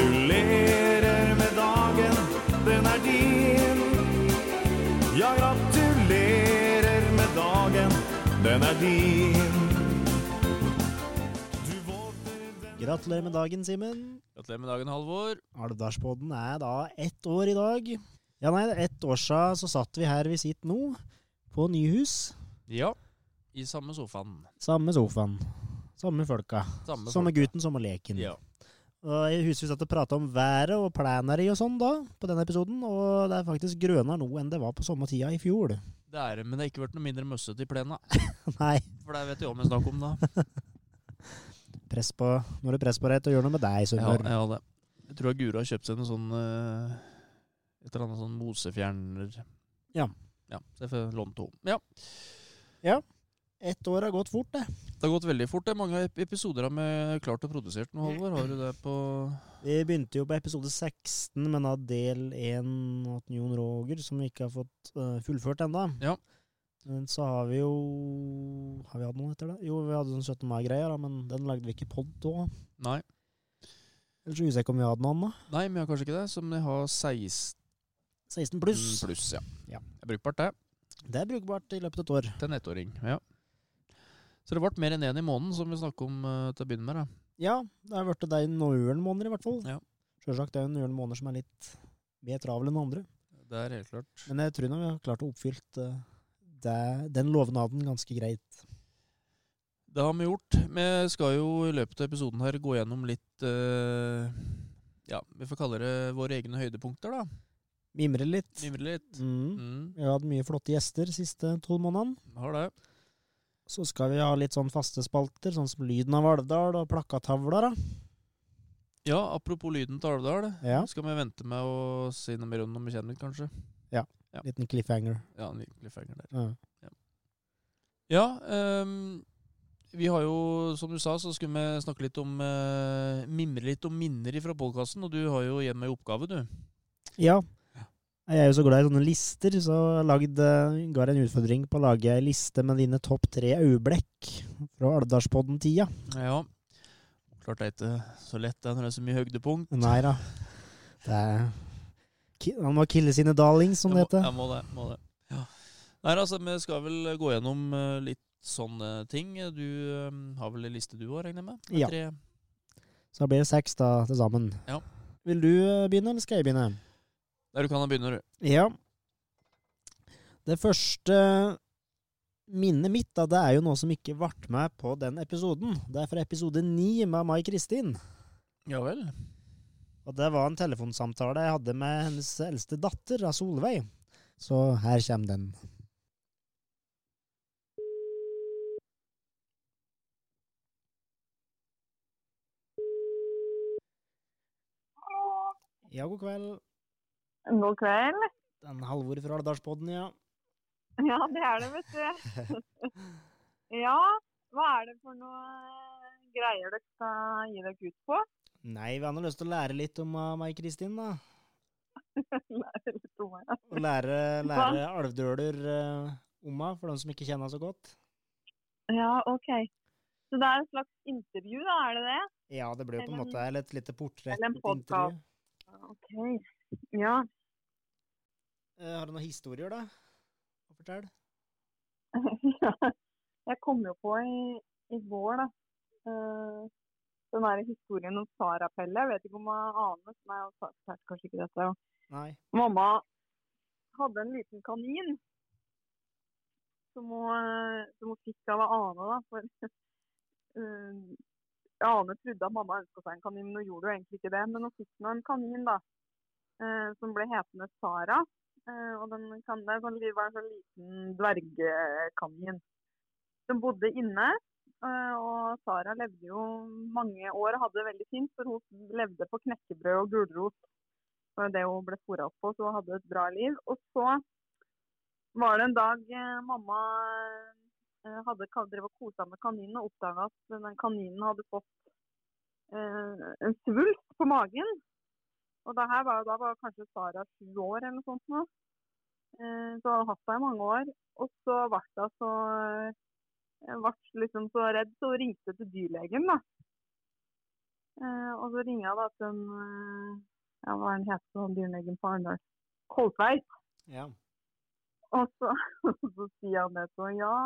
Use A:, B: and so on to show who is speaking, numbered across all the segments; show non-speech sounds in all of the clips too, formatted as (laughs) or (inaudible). A: Gratulerer med dagen, den er din. Ja, gratulerer med dagen, den er din. Du våkner den
B: Gratulerer med dagen, Simen.
C: Gratulerer med dagen, Halvor.
B: Alvdalspodden er da ett år i dag. Ja, nei, det er ett år siden så satt vi her vi sitter nå, på Nyhus.
C: Ja. I samme sofaen.
B: Samme sofaen, samme folka,
C: Samme,
B: samme
C: folka.
B: gutten, samme leken.
C: Ja.
B: Og jeg husker vi satt og pratet om været og planeri og sånn da, på den episoden, og det er faktisk grønere nå enn det var på samme tida i fjor. (laughs)
C: Det er det, men det er ikke blitt noe mindre møssete i plena.
B: Nei,
C: For det vet jeg om jeg snakker om, da.
B: press på, nå er (laughs) det press på deg til å gjøre noe med deg,
C: Ja,
B: Sundar.
C: ja, det. Jeg tror Guro har kjøpt seg noe sånn eh, Et eller annet sånn mosefjerner.
B: Ja.
C: Ja, Så jeg får låne to. Ja.
B: Ett år har gått fort, det.
C: Det har gått veldig fort. Det er mange ep- episoder av med klart og produsert nå, Halvor. Har du det på
B: Vi begynte jo på episode 16, men av del 1 av Jon Roger, som vi ikke har fått eh, fullført ennå.
C: Ja.
B: Men så har vi jo Har vi hatt noen etter det? Jo, vi hadde sånn 17. mai-greier, da, men den lagde vi ikke pod da.
C: Nei.
B: Ellers så husker jeg ikke om vi hadde noe annet.
C: Nei, men jeg har kanskje ikke det. Som jeg har 16
B: 16 pluss.
C: pluss, ja.
B: Ja.
C: Det er brukbart, det.
B: Det er brukbart i løpet av et år.
C: Til en ettåring. Ja. Så det ble mer enn én i måneden, som vi snakket om eh, til å begynne med. da.
B: Ja, det har vært det i noen måneder i hvert fall.
C: Ja.
B: Sjølsagt det er jo noen måneder som er litt mer travel enn andre.
C: Det er helt klart.
B: Men jeg tror nå vi har klart å oppfylt eh, det, den lovnaden ganske greit.
C: Det har vi gjort. Vi skal jo i løpet av episoden her gå gjennom litt eh, Ja, vi får kalle det våre egne høydepunkter, da.
B: Mimre litt.
C: Mimre litt.
B: Mm.
C: Mm,
B: Vi har hatt mye flotte gjester de siste tolv månedene.
C: har det.
B: Så skal vi ha litt sånn faste spalter, sånn som Lyden av Alvdal og Plakatavla. da.
C: Ja, apropos lyden til Alvdal.
B: Ja,
C: Skal vi vente med å si noe mer om når vi kjenner litt, kanskje?
B: Liten cliffhanger.
C: Ja, en liten cliffhanger der.
B: Ja.
C: Ja, ehm, vi har jo, som du sa, så skulle vi snakke litt om eh, Mimre litt om minner fra podkasten, og du har jo igjen med oppgave, du.
B: ja. Jeg er jo så glad i sånne lister, så jeg lagde, ga jeg en utfordring på å lage ei liste med dine topp tre øyeblikk fra Alvdalspodden-tida.
C: Ja. Klart det er ikke så lett det når det er så mye høydepunkt.
B: Nei da. Det er ki- Han må kille sine darlings, som det
C: Jeg må,
B: heter.
C: jeg må det. Må det. Ja. Nei, altså, vi skal vel gå gjennom eh, litt sånne ting. Du eh, har vel en liste du òg, regner jeg med? Med
B: Ja.
C: Tre.
B: Så da blir det seks da, til sammen.
C: Ja.
B: Vil du eh, begynne, eller skal jeg begynne?
C: Der du kan da begynne, du.
B: Ja. Det første minnet mitt, da, det er jo noe som ikke ble med på den episoden. Det er fra episode ni med Mai Kristin.
C: Ja vel.
B: Og det var en telefonsamtale jeg hadde med hennes eldste datter, av Solveig. Så her kommer den. Ja, god kveld.
D: God kveld.
B: Den Halvor fra Alvdalspodden, ja.
D: Ja, det er det, vet du. (laughs) Ja, hva er det for noe eh, greier dere skal gi dere ut på?
B: Nei, vi hadde lyst til å lære litt om uh, meg, Kristin, da.
D: Lære litt om det.
B: Og lære, lære alvdøler uh, om meg, for dem som ikke kjenner henne så godt.
D: Ja, OK. Så det er et slags intervju, da, er det det?
B: Ja, det ble jo på en måte et lite portrett.
D: Eller en
B: et intervju.
D: podcast. OK. Ja.
B: Eh, har du noen historier, da? Å fortelle?
D: (laughs) Jeg kom jo på i, i vår, da. eh, Den der historien om Sara-Pelle. Jeg vet ikke om jeg aner. Nei, jeg har fortalt kanskje ikke dette.
B: Nei.
D: Mamma hadde en liten kanin som hun, eh, som hun fikk av Ane. Da, for, (laughs) eh, Ane trodde at mamma ønska seg en kanin, men hun gjorde jo egentlig ikke det. Men hun fikk nå en kanin da, eh, som ble hetende Sara. Eh, og den kan, det er sånn, var en sånn liten dvergekanin. Den bodde inne. eh, Og Sara levde jo mange år og hadde det veldig fint, for hun levde på knekkebrød og gulrot det var det hun ble fôra opp på, så hun hadde et bra liv. Og så var det en dag eh, mamma eh, hadde ka- drevet og kosa med kaninen og oppdaga at den kaninen hadde fått eh, en svulst på magen. Og det her var, da var kanskje Sara sju år eller noe sånt. nå. Eh, så hun hadde hatt henne i mange år. Og så ble hun så, eh, ble liksom så redd, så hun ringte til dyrlegen. da. Eh, og så ringer jeg da til en eh, ja, Hva er han heter han dyrlegen på Arendal? Koltveit.
B: Ja.
D: Og så, (laughs) så sier han det sånn ja,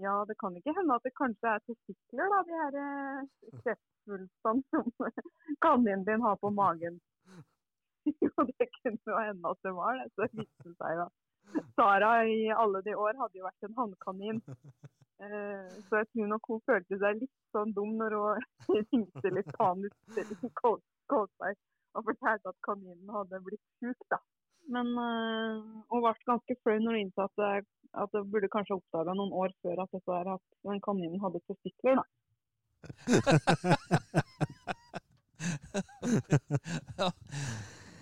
D: ja, det kan ikke hende at det kanskje er testikler, da, de her eh, kreftsvulstene som (laughs) kaninen din har på magen. (laughs) Jo, det kunne jo hende at det var det. Så viste det seg jo at Sara i alle de år hadde jo vært en hannkanin. Eh, Så jeg tror nok hun følte seg litt sånn dum når hun (laughs) ringte litt panisk til Kål- Kålsberg og fortalte at kaninen hadde blitt sjuk, da. Men eh, hun ble ganske flau når hun innså at, det- at det burde kanskje oppdaga noen år før at, dette her, at den kaninen hadde testikler. da.
C: ja.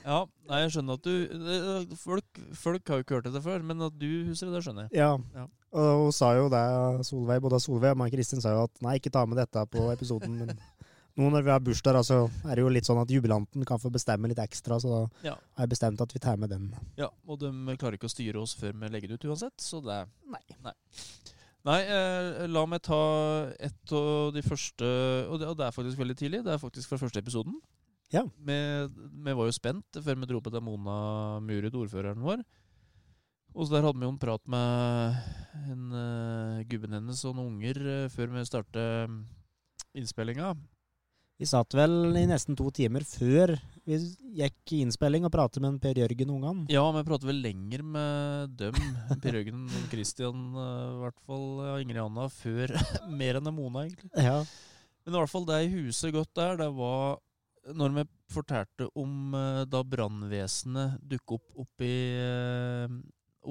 C: ja. Nei, jeg skjønner at du det- folk, folk har jo ikke hørt dette før, men at du husker det, det skjønner jeg.
B: ja.
C: Ja.
B: Og hun sa jo det, Solveig, både Solveig og Mai Kristin sa jo at nei, ikke ta med dette på episoden, men nå når vi har bursdag, da, så er det jo litt sånn at jubilanten kan få bestemme litt ekstra, så da
C: Ja.
B: har jeg bestemt at vi tar med den.
C: Ja, Og de klarer ikke å styre oss før vi legger det ut uansett, så det er
B: Nei.
C: Nei, Nei eh, la meg ta et av de første og det, og det er faktisk veldig tidlig. Det er faktisk fra første episoden.
B: Ja.
C: Vi, vi var jo spent før vi dro på til Mona Murud, ordføreren vår. Og så der hadde vi jo en prat med en, eh, gubben hennes og noen unger eh, før vi startet mm, innspillinga.
B: Vi satt vel i nesten to timer før vi gikk i innspilling og pratet med en Per Jørgen og ungene.
C: Ja, men jeg prater vel lenger med dem, Per Jørgen og Christian, eh, i hvert fall ja, Ingrid Anna, før (laughs) mer enn Mona, egentlig.
B: Ja.
C: Men i hvert fall det i huset godt der, det var når vi fortalte om eh, da brannvesenet dukket opp oppi, eh,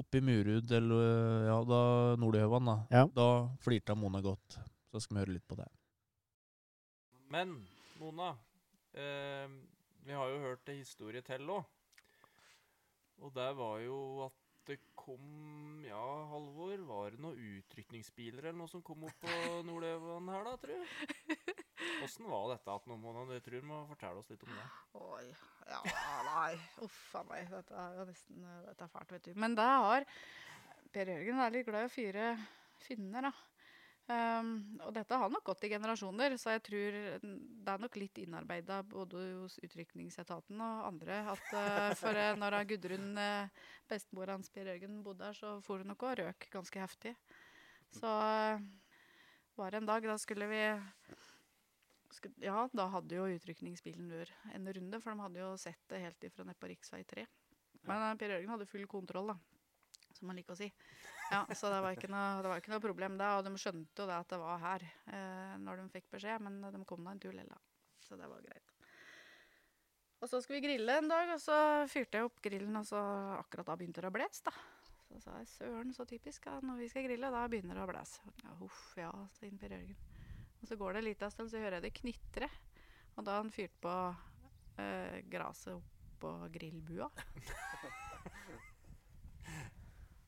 C: oppi Murud, eller eh, ja, da Nordhøvan, da.
B: Ja.
C: Da flirte Mona godt. Så skal vi høre litt på det.
E: Men Mona, eh, vi har jo hørt en historie til òg. Og det var jo at det kom Ja, Halvor, var det noen utrykningsbiler eller noe som kom opp på Nordøvan her, da, tru? Åssen var dette at noen Mona, du tror du må fortelle oss litt om det?
F: Oi. Ja, nei. Uff a meg. Dette er jo nesten eh, Dette er fælt, vet du. Men det har Per Jørgen er litt glad i å fyre finner, da. Ehm, og dette har nok gått i generasjoner, så jeg tror det er nok litt innarbeida både hos utrykningsetaten og andre. At, eh, for eh, når han Gudrun, uh, bestemora hans Per Jørgen, bodde her, så for hun nok og røk ganske heftig. Så eh, var det en dag, da skulle vi Sku- Ja, da hadde jo utrykningsbilen vår en runde, for de hadde jo sett det helt ifra nede på rv. 3. Men eh, Per Jørgen hadde full kontroll, da, som han liker å si. Ja, Så det var ikke noe, det var ikke noe problem, det. Og de skjønte jo det at det var her eh, når de fikk beskjed, men de kom da en tur likevel. Så det var greit. Og så skulle vi grille en dag, og så fyrte jeg opp grillen, og så akkurat da begynte det å blæse, da. Så sa jeg søren, så typisk, ja, når vi skal grille, da begynner det å blæse. Ja, huff, ja, sa inn Per Jørgen. Og så går det en liten stund, så hører jeg det knitre. Og da har han fyrt på eh, gresset oppå grillbua.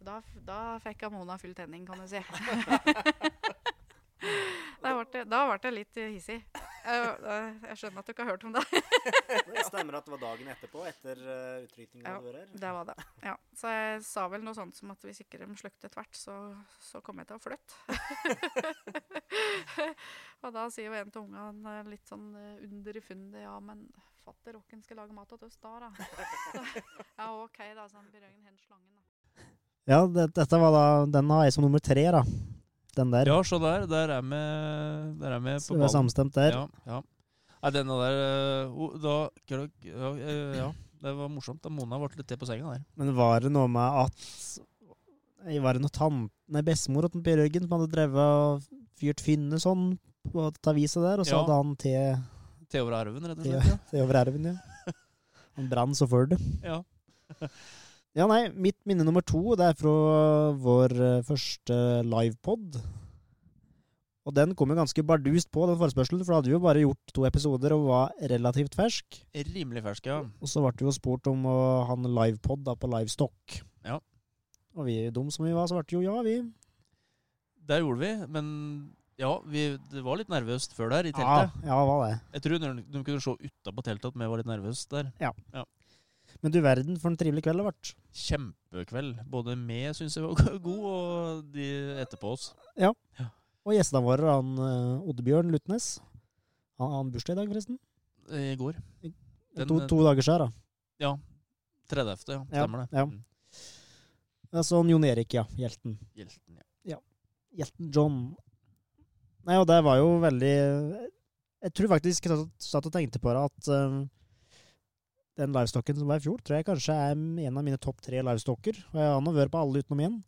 F: da, f- da fikk Mona full tenning, kan du si. da ble det- da ble jeg litt hissig. Jeg, jeg skjønner at du ikke har hørt om det.
B: Det stemmer at det var dagen etterpå, etter uh, utrykningen
F: Ja.
B: hadde vært
F: Det var det. Ja. Så jeg sa vel noe sånt som at hvis ikke de slukte tvert, så, så kom jeg til å flytte. (laughs) og da sier jo en til ungene eh, litt sånn eh, underfundig ja, men fatter rocken skal lage mat til oss da, (laughs) da. ja, OK, da, sa han Bjørgen hen slangen. da.
B: Ja, det, dette var da Den har jeg som nummer tre, da. Den der.
C: Ja, så der, der er vi, der er vi
B: så
C: på
B: vi er
C: ballen.
B: samstemt der.
C: Ja, ja. Nei, denne der eh, oh, da, klok- ja, eh, ja, det var morsomt. Da Mona ble litt til på senga der.
B: Men var det noe med at Nei, Var det noe tant... Nei, bestemor til Per Jørgen som hadde drevet og fyrt finne sånn på dette viset der, og så
C: Ja.
B: hadde han te,
C: Til over arven, rett og
B: te,
C: slett.
B: te over elven, ja. Han brann så for det.
C: Ja.
B: Ja, nei, mitt minne nummer to, det er fra vår eh, første livepod. Og den kom jo ganske bardust på, den forespørselen, for da hadde vi jo bare gjort to episoder og var relativt fersk.
C: ja. Rimelig fersk, ja.
B: Og så ble vi jo spurt om å ha en livepod da på Livestock.
C: Ja.
B: Og vi, dum som vi var, så ble det jo ja, vi.
C: Der gjorde vi, men ja, vi, det var litt nervøst før der, i
B: Ja,
C: teltet.
B: ja, hva det?
C: Jeg tror de, de kunne se utapå teltet at vi var litt nervøse der.
B: Men du verden for en trivelig kveld det ble.
C: Kjempekveld. Både vi syns jeg var (laughs) god, og de etterpå oss.
B: Og gjestene våre, han eh, Oddbjørn Lutnes, Han har bursdag i dag, forresten.
C: I går. Den-
B: to, to dager siden, da.
C: Ja. 30. Ja,
B: Ja,
C: stemmer det.
B: ja.
C: Mm.
B: Ja, Sånn Jon Erik, ja. Hjelten.
C: Hjelten, ja.
B: Hjelten John. Nei, og det var jo veldig Jeg tror faktisk jeg satt- satt og tenkte på det at eh, den livestocken som var i fjor, tror jeg kanskje er en av mine topp tre livestocker. Og jeg har nå vært på alle utenom én.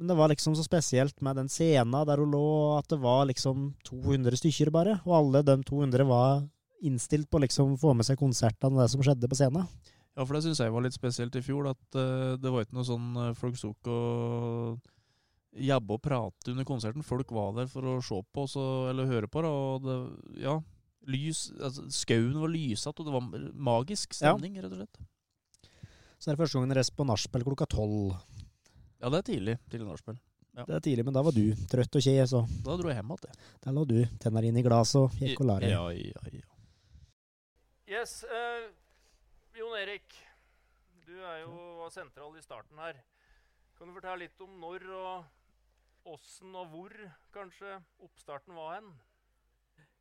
B: Men det var liksom så spesielt med den scena der hun lå, at det var liksom 200 stykker bare. Og alle de 200 var innstilt på liksom å få med seg konsertene og det som skjedde på scenen.
C: Ja, for det syns jeg var litt spesielt i fjor. At eh, det var ikke noe sånn eh, folk sto ikke og jabba og prate under konserten. Folk var der for å se på så, eller høre på. Da, og det, ja, lys, altså, Skauen var lysete, og det var magisk stemning, rett og slett.
B: Så er det første gangen jeg reiser på nachspiel klokka tolv.
C: Ja, det er tidlig til nachspiel.
B: Det er tidlig, men da var du trøtt og kje, så
C: Da dro jeg hjem igjen. jeg.
B: der lå du. Tenner inn i glasset og gikk og la deg.
C: Ja, ja, ja.
G: Yes, eh, Jon Erik. Du er jo var sentral i starten her. Kan du fortelle litt om når og åssen og hvor kanskje oppstarten var hen?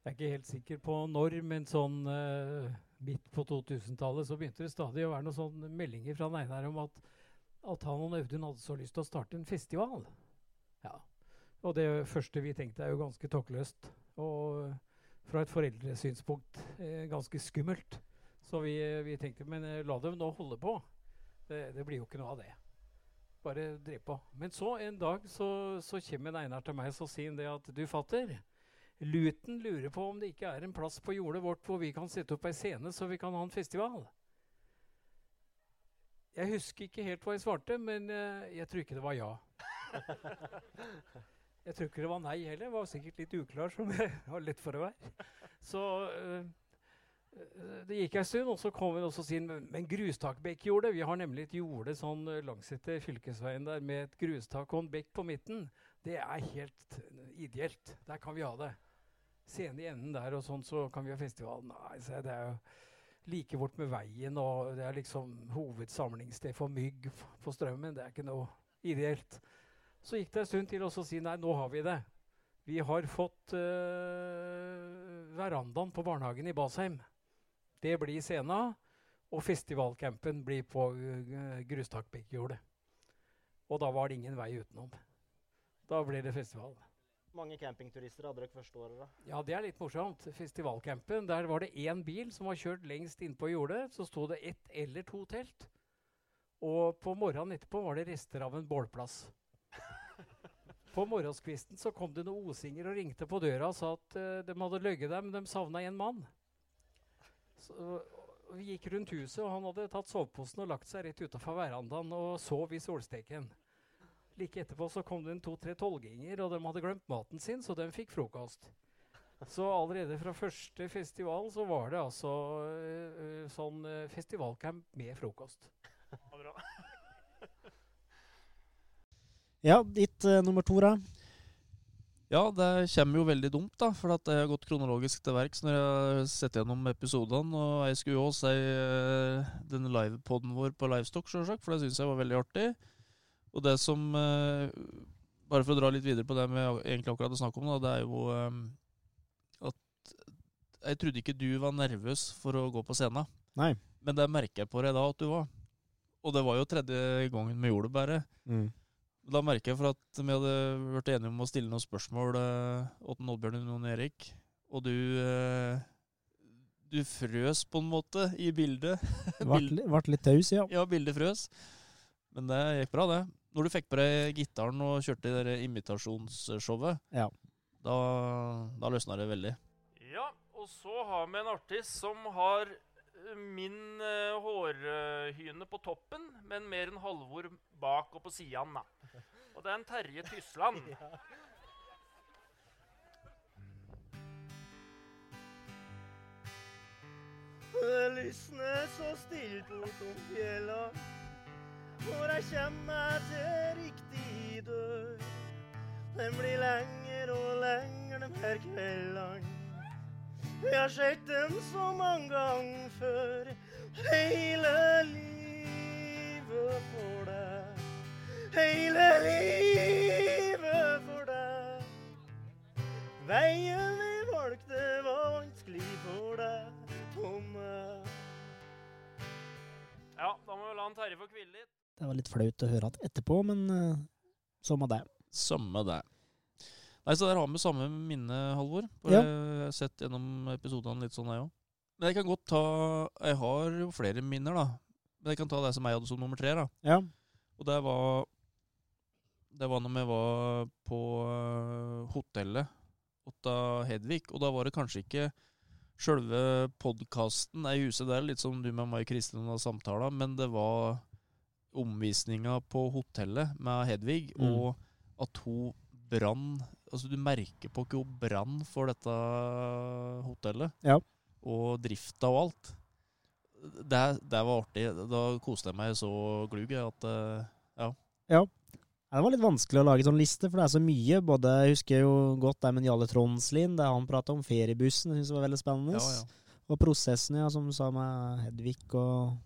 H: Jeg er ikke helt sikker på når, men sånn eh, midt på 2000-tallet så begynte det stadig å være noen sånne meldinger fra Neinar om at, at han og Audun hadde så lyst til å starte en festival. Ja. Og det første vi tenkte, er jo ganske tåkeløst. Og eh, fra et foreldresynspunkt eh, ganske skummelt. Så vi, vi tenkte men eh, la dem nå holde på. Det, det blir jo ikke noe av det. Bare driv på. Men så en dag så, så kommer Einar til meg og sier han det at du fatter. Luten lurer på om det ikke er en plass på jordet vårt hvor vi kan sette opp ei scene så vi kan ha en festival. Jeg husker ikke helt hva jeg svarte, men eh, jeg tror ikke det var ja. jeg tror ikke det var nei heller. Jeg var sikkert litt uklar, som jeg har lett for å være. Så eh, eh, det gikk ei stund, og så kom hun og så sier han, men grustakbekkjordet Vi har nemlig et jorde sånn eh, langs etter fylkesveien der med et grustak og en bekk på midten. Det er helt eh, ideelt. Der kan vi ha det. Scene i enden der, og sånn, så kan vi ha festival. Nei, sa jeg, det er jo like vårt med veien, og det er liksom hovedsamlingssted for mygg f- på Strømmen. Det er ikke noe ideelt. Så gikk det en stund til, og så si nei, nå har vi det. Vi har fått eh, verandaen på barnehagen i Basheim. Det blir scena, og festivalcampen blir på uh, grustakbekkjordet. Og da var det ingen vei utenom. Da blir det festival.
I: Mange campingturister hadde dere første året, da.
H: Ja, det er litt morsomt. Festivalcampen, der var det én bil som var kjørt lengst innpå jordet. Så sto det ett eller to telt. Og på morgenen etterpå var det rester av en bålplass. På morgenskvisten så kom det noen osinger og ringte på døra og sa at eh, de hadde løyet dem, de savna en mann. Så, og vi gikk rundt huset, og han hadde tatt soveposen og lagt seg rett utafor verandaen og sov i solsteken. Like etterpå så kom det en to-tre tolvginger, og de hadde glemt maten sin, så de fikk frokost. Så allerede fra første festival så var det altså øh, øh, sånn øh, festivalcamp med frokost.
B: Ja, ditt eh, nummer to, da.
C: Ja, det kommer jo veldig dumt, da. For at jeg har gått kronologisk til verks når jeg har sett gjennom episodene. Og jeg skulle jo også si eh, denne livepoden vår på Livestock, sjølsagt, for det syns jeg var veldig artig. Og det som eh, Bare for å dra litt videre på det vi egentlig akkurat hadde snakket om, da, det er jo eh, at jeg trodde ikke du var nervøs for å gå på scenen.
B: Nei.
C: Men det merker jeg på deg da at du var. Og det var jo tredje gangen vi gjorde det, bare. Da merker jeg for at vi hadde vært enige om å stille noen spørsmål eh, åt en Oddbjørn og noen Erik, og du eh, du frøs på en måte i bildet. (laughs)
B: Vart, li- vart litt taus, ja.
C: Ja, bildet frøs. Men det gikk bra, det. Når du fikk på deg gitaren og kjørte det der imitasjonsshowet,
B: Ja.
C: da, da løsna det veldig.
G: Ja, og så har vi en artist som har eh, min eh, hårhyne på toppen, men mer enn halvor bak og på sidene. da. Og det er en Terje Tysland.
I: Lysne så stilt bortom fjella Når jeg kjem meg til riktig dør Den blir lenger og lenger dem her kveldene Jeg har sett dem så mange ganger før Hele livet for deg Hele livet for deg Veien vi valgte var
G: han Terje få hvile litt.
B: Det var litt flaut å høre at etterpå, men eh, så må det.
C: Samme det. Nei, så der har vi samme minne, Halvor. For
B: Ja.
C: Jeg har sett gjennom episodene litt sånn, jeg òg. Men jeg kan godt ta Jeg har jo flere minner, da. Men jeg kan ta det som jeg hadde som nummer tre, da.
B: Ja.
C: Og det var Det var når vi var på eh, hotellet Otta Hedvig, og da var det kanskje ikke sjølve podkasten i huset der, litt som du med meg og Kristin har samtala, men det var omvisninga på hotellet med Hedvig,
B: Mm.
C: og at hun brann Altså, du merker på ikke hun brann for dette hotellet,
B: Ja.
C: og drifta og alt. Det, det var artig. Da koste jeg meg så glugg jeg, at eh,
B: Nei, Det var litt vanskelig å lage sånn liste, for det er så mye. Både, Jeg husker jo godt det med Jarle Tronslien, det han prata om feriebussen, det syns jeg var veldig spennende.
C: ja, ja.
B: Og prosessen, ja, som du sa med Hedvig og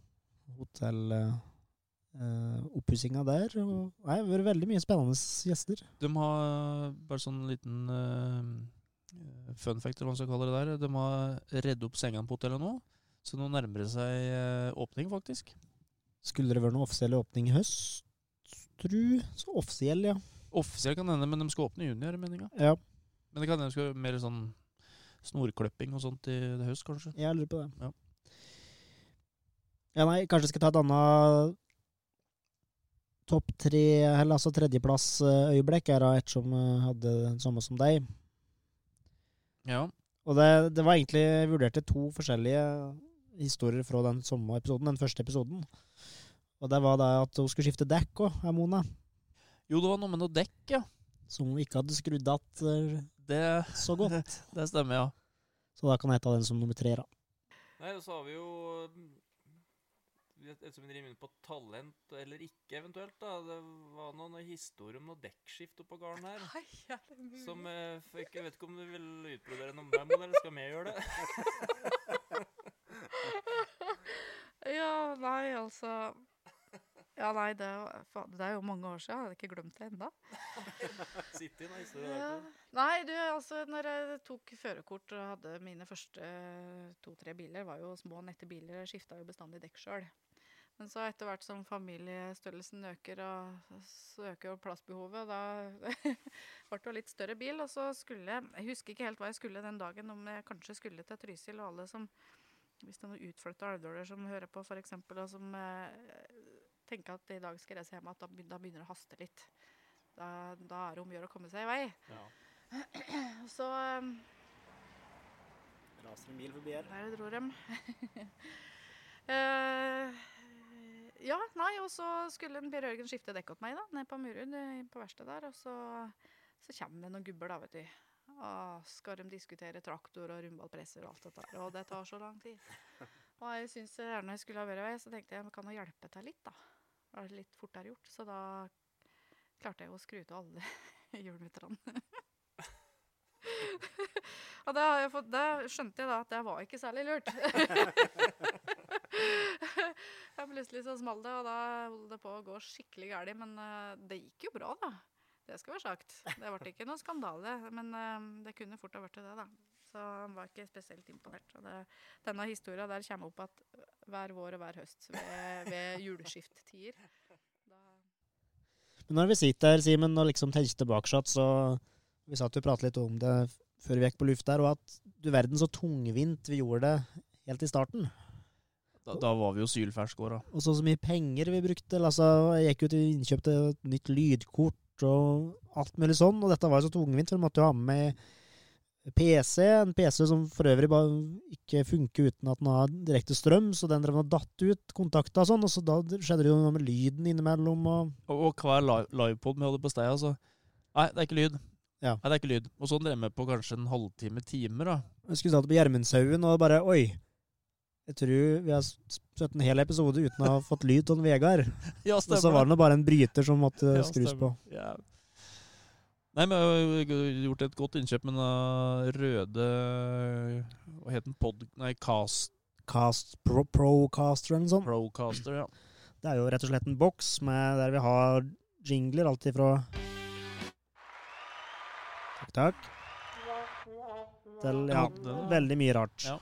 B: hotelloppussingen der. Og, nei, det har vært veldig mye spennende gjester.
C: De har bare sånn liten eh, fun fact, eller hva man skal kalle det der. De har redd opp sengene på hotellet nå, så nå nærmer det seg eh, åpning, faktisk.
B: Skulle det vært noen offisiell åpning i høst, tru? Så offisiell, ja.
C: Offisielt kan det hende, men de skal åpne i juni, er det meninga.
B: Ja,
C: Men det kan hende de skal gjøre mer sånn snorkløpping og sånt i det høst, kanskje.
B: jeg lurer på det.
C: Ja.
B: Ja, nei, kanskje jeg skal ta et annet topp tre, eller altså tredjeplass-øyeblikk, er da et som eh, hadde den samme som deg.
C: Ja.
B: Og det, det var egentlig Jeg vurderte to forskjellige historier fra den samme episoden, den første episoden. Og det var det at hun skulle skifte dekk òg, Mona.
C: Jo, det var noe med noe dekk, ja.
B: Som hun ikke hadde skrudd att eh,
C: Det,
B: så godt.
C: det stemmer, ja.
B: Så da kan jeg ta den som nummer tre, da.
E: Nei, og så har vi jo mm, et- Ettersom vi driver inne på talent eller ikke, eventuelt, da. Det var noen historier om noe dekkskift oppå gården her.
F: Nei, er det mulig?
E: Som eh, for ikke- jeg vet ikke om du vil utbrodere noe med meg, eller skal vi gjøre det? (laughs)
F: Ja, nei, altså Ja, nei, det, er jo- faen, det er jo mange år siden. Jeg hadde ikke glemt det ennå.
E: Sitte i en historie der.
F: Ja.
E: Kåre.
F: Nei, du, altså, når jeg tok førerkort og hadde mine første eh, to-tre biler, var jo små, nette biler, skifta jo bestandig dekk sjøl. Men så etter hvert som familiestørrelsen øker, og så øker jo plassbehovet, og da (laughs) ble det jo litt større bil. Og så skulle jeg Jeg husker ikke helt hva jeg skulle den dagen, om jeg kanskje skulle til Trysil, og alle som Hvis det er noen utflytta alvdøler som hører på, f.eks., og som eh, tenker at i dag skal jeg reise hjem, at da begyn- da begynner det å haste litt. Da, da er det om å gjøre å komme seg i vei.
E: Ja.
F: Så um,
B: Raser en bil forbi her.
F: der dro dem. (laughs) Eh, ja, nei, og så skulle en Per Jørgen skifte dekk opp meg, da, ned på Murud eh, på verkstedet der. Og så, så kommer det noen gubber, da, vet du. Og skal de diskutere traktor og rundballpresser og alt dette her. Og det tar så lang
B: (laughs)
F: tid. Og jeg syns gjerne jeg skulle ha vært i vei, så tenkte jeg kan jeg hjelpe til litt, da. Det var litt fortere gjort. Så da klarte jeg å skru til alle (laughs) hjulmutterne. Og det, har jeg fått, det skjønte jeg da at det var ikke særlig lurt. Ja, Plutselig så smalt det, og da holdt det på å gå skikkelig galt. Men eh, det gikk jo bra, da. Det skal være sagt. Det ble ikke noen skandale, men eh, det kunne fort ha blitt det, da. Så han var ikke spesielt imponert. Og det, denne historia der kommer opp at hver vår og hver høst ved, ved juleskifttider. Da
B: Men når vi sitter her, Simen, og liksom tenker tilbake, sånn, så Vi satt jo og pratet litt om det f- før vi gikk på luft der, og at du verden så tungvint vi gjorde det helt i starten.
C: Da, da var vi jo sylferske år, da.
B: Og så så mye penger vi brukte. eller Altså, jeg gikk ut og innkjøpte et nytt lydkort og alt mulig sånn, og dette var jo så tungvint, for vi måtte jo ha med PC, en PC som for øvrig bare ikke funker uten at den har direkte strøm, så den drev og datt ut kontakta og sånn, og så da skjedde det jo noe med lyden innimellom, og
C: Og, og hver li- livepod vi hadde på stedet, altså. Nei, det er ikke lyd.
B: Ja.
C: Nei, det er ikke lyd. Og sånn drev vi på kanskje en halvtime, timer, da.
B: Jeg skulle satt på Gjermundshaugen og bare Oi, jeg tror vi har s- sett en hel episode uten å ha fått lyd av en
C: (laughs)
B: Vegard.
C: Ja,
B: Og så var det nå bare en bryter som måtte
C: Ja,
B: eh, skrus
C: stemmer.
B: på.
C: Ja. Nei, men øh, jeg har jo gjort et godt innkjøp med den eh, røde Hva het den? Pod... Nei, Cast
B: Cast, pro, Procaster eller noe sånt.
C: Procaster, ja.
B: Det er jo rett og slett en boks med, der vi har jingler alt ifra Takk, takk. Til ja,
C: den,
B: veldig mye rart.
C: øh, Ja.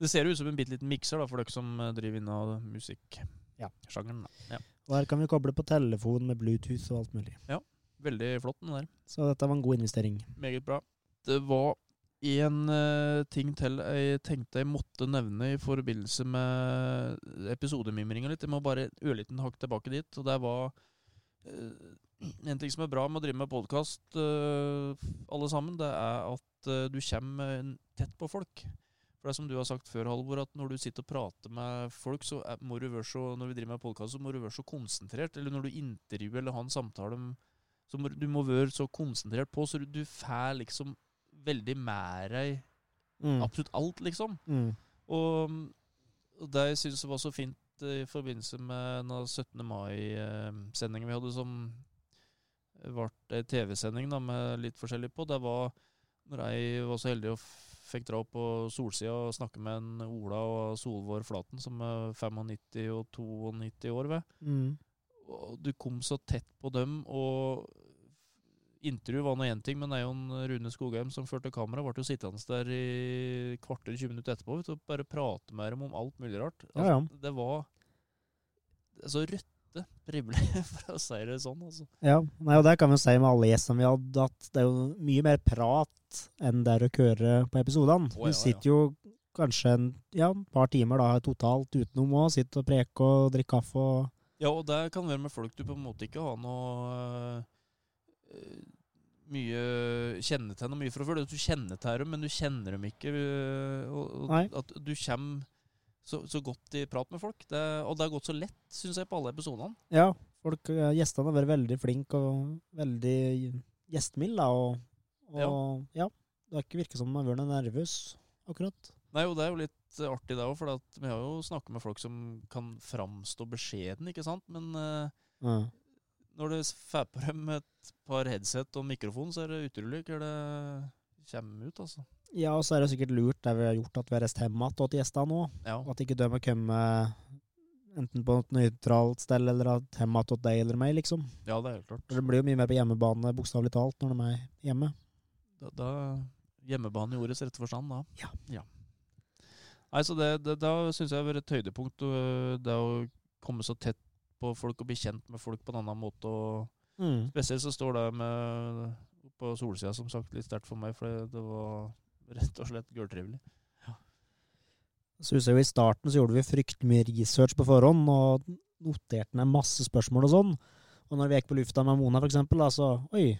C: Det ser jo ut som en bitte liten mikser, da, for dere som eh, driver inna musikk.
B: Ja.
C: sjangeren. Da. Ja.
B: Og her kan vi koble på telefon med Bluetooth og alt mulig.
C: Veldig flott, den der.
B: Så dette var en god investering.
C: Meget bra. Det var en eh, ting til jeg tenkte jeg måtte nevne i forbindelse med episodemimringa litt. Jeg må bare ørliten hakk tilbake dit. Og det var eh, en ting som er bra med å drive med podkast, alle sammen, det er at eh, du kommer eh, tett på folk. For det er som du har sagt før, Halvor, at når du sitter og prater med folk, så er, må du være så, når vi driver med podcast, så må du være så konsentrert. Eller når du intervjuer eller har en samtale med så må, du må være så konsentrert på, så du, du får liksom veldig med deg
B: Mm.
C: absolutt alt, liksom.
B: Mm.
C: Og, og det jeg syns var så fint eh, i forbindelse med den 17. mai-sendingen vi hadde, som ble ei TV-sending da, med litt forskjellig på, det var når jeg var så heldig og f- fikk dra opp på solsida og snakke med en Ola og Solvår Flaten, som er 95 og 92 år, ved
B: Mm.
C: og du kom så tett på dem, og intervju var nå én ting, men Eion Rune Skogheim som førte kamera, ble jo sittende der i kvarter 20 minutter etterpå vet du, og bare prate med dem om alt mulig rart. Altså,
B: Ja, ja.
C: Det var så røtte pribler, (laughs) for å si det sånn. altså.
B: Ja, nei, og det kan vi jo si med alle gjestene vi hadde, at det er jo mye mer prat enn det er å høre på episodene.
C: Å, ja,
B: Du sitter jo kanskje en ja, et par timer da totalt utenom òg, sitter og preker og drikker kaffe og
C: Ja, og det kan være med folk du på en måte ikke har noe eh, mye kjenne til noe mye fra før. Du kjenner til dem, men du kjenner dem ikke. eh, og,
B: Nei.
C: og at du kommer så, så godt i prat med folk. Det, og det har gått så lett, syns jeg, på alle episodene.
B: Ja, folk, eh, gjestene har vært veldig flinke og veldig gjestmilde, da, og, og ja. Det har ikke virket som man har vært noe nervøs, akkurat.
C: Nei, og det er jo litt eh, artig det òg, for at vi har jo snakka med folk som kan framstå beskjeden, ikke sant. Men eh,
B: Ja.
C: når det s- får på dem et par headset og mikrofon, så er det utrolig hva det kommer ut, altså.
B: ja, og så er det sikkert lurt det vi har gjort, at vi har reist hjem igjen til gjestene òg.
C: Ja.
B: Og at ikke de har kommet eh, enten på et nøytralt sted eller at hjemme til deg eller meg, liksom.
C: ja, det er helt klart.
B: For det blir jo mye mer på hjemmebane, bokstavelig talt, når de er hjemme.
C: Da, da Hjemmebane i ordets rette forstand, da.
B: Ja.
C: Nei, så det, det, da syns jeg har vært et høydepunkt. øh, Det å komme så tett på folk og bli kjent med folk på en annen måte. Og spesielt så står det med øh, på solsida, som sagt, litt sterkt for meg, for det, det var rett og slett gørrtrivelig.
B: Så husker jeg jo I starten så gjorde vi fryktelig mye research på forhånd, og noterte ned masse spørsmål og sånn. Og når vi gikk på lufta med Mona, for eksempel, da, så Oi,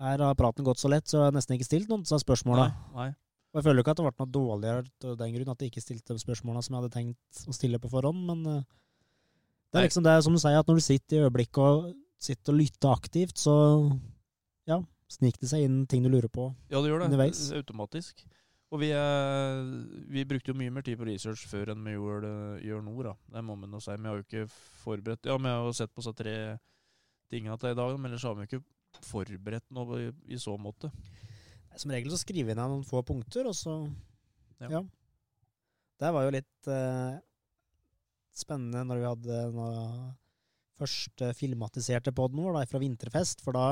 B: her har praten gått så lett, så jeg har nesten ikke stilt noen av disse spørsmåla.
C: Nei, nei.
B: Og jeg føler jo ikke at det ble noe dårligere av den grunn at jeg ikke stilte de spørsmåla som jeg hadde tenkt å stille på forhånd, men eh, det
C: Nei.
B: er liksom det som du sier, at når du sitter i øyeblikket og sitter og lytter aktivt, så ja, sniker det seg inn ting du lurer på.
C: Ja, det gjør det.
B: Underveis.
C: Det er Automatisk. Og vi, eh, vi brukte jo mye mer tid på research før enn vi gjør, det, gjør nå, da. Det må man jo si. Vi har jo ikke forberedt Ja, vi har jo sett på disse tre tingene til i dag, men ellers har vi jo ikke forberedt noe i, i så måte.
B: Som regel så skriver jeg ned noen få punkter, og så
C: Ja.
B: Ja. Det var jo litt eh, spennende når vi hadde nå- første filmatiserte podden vår da, fra Vinterfest, for da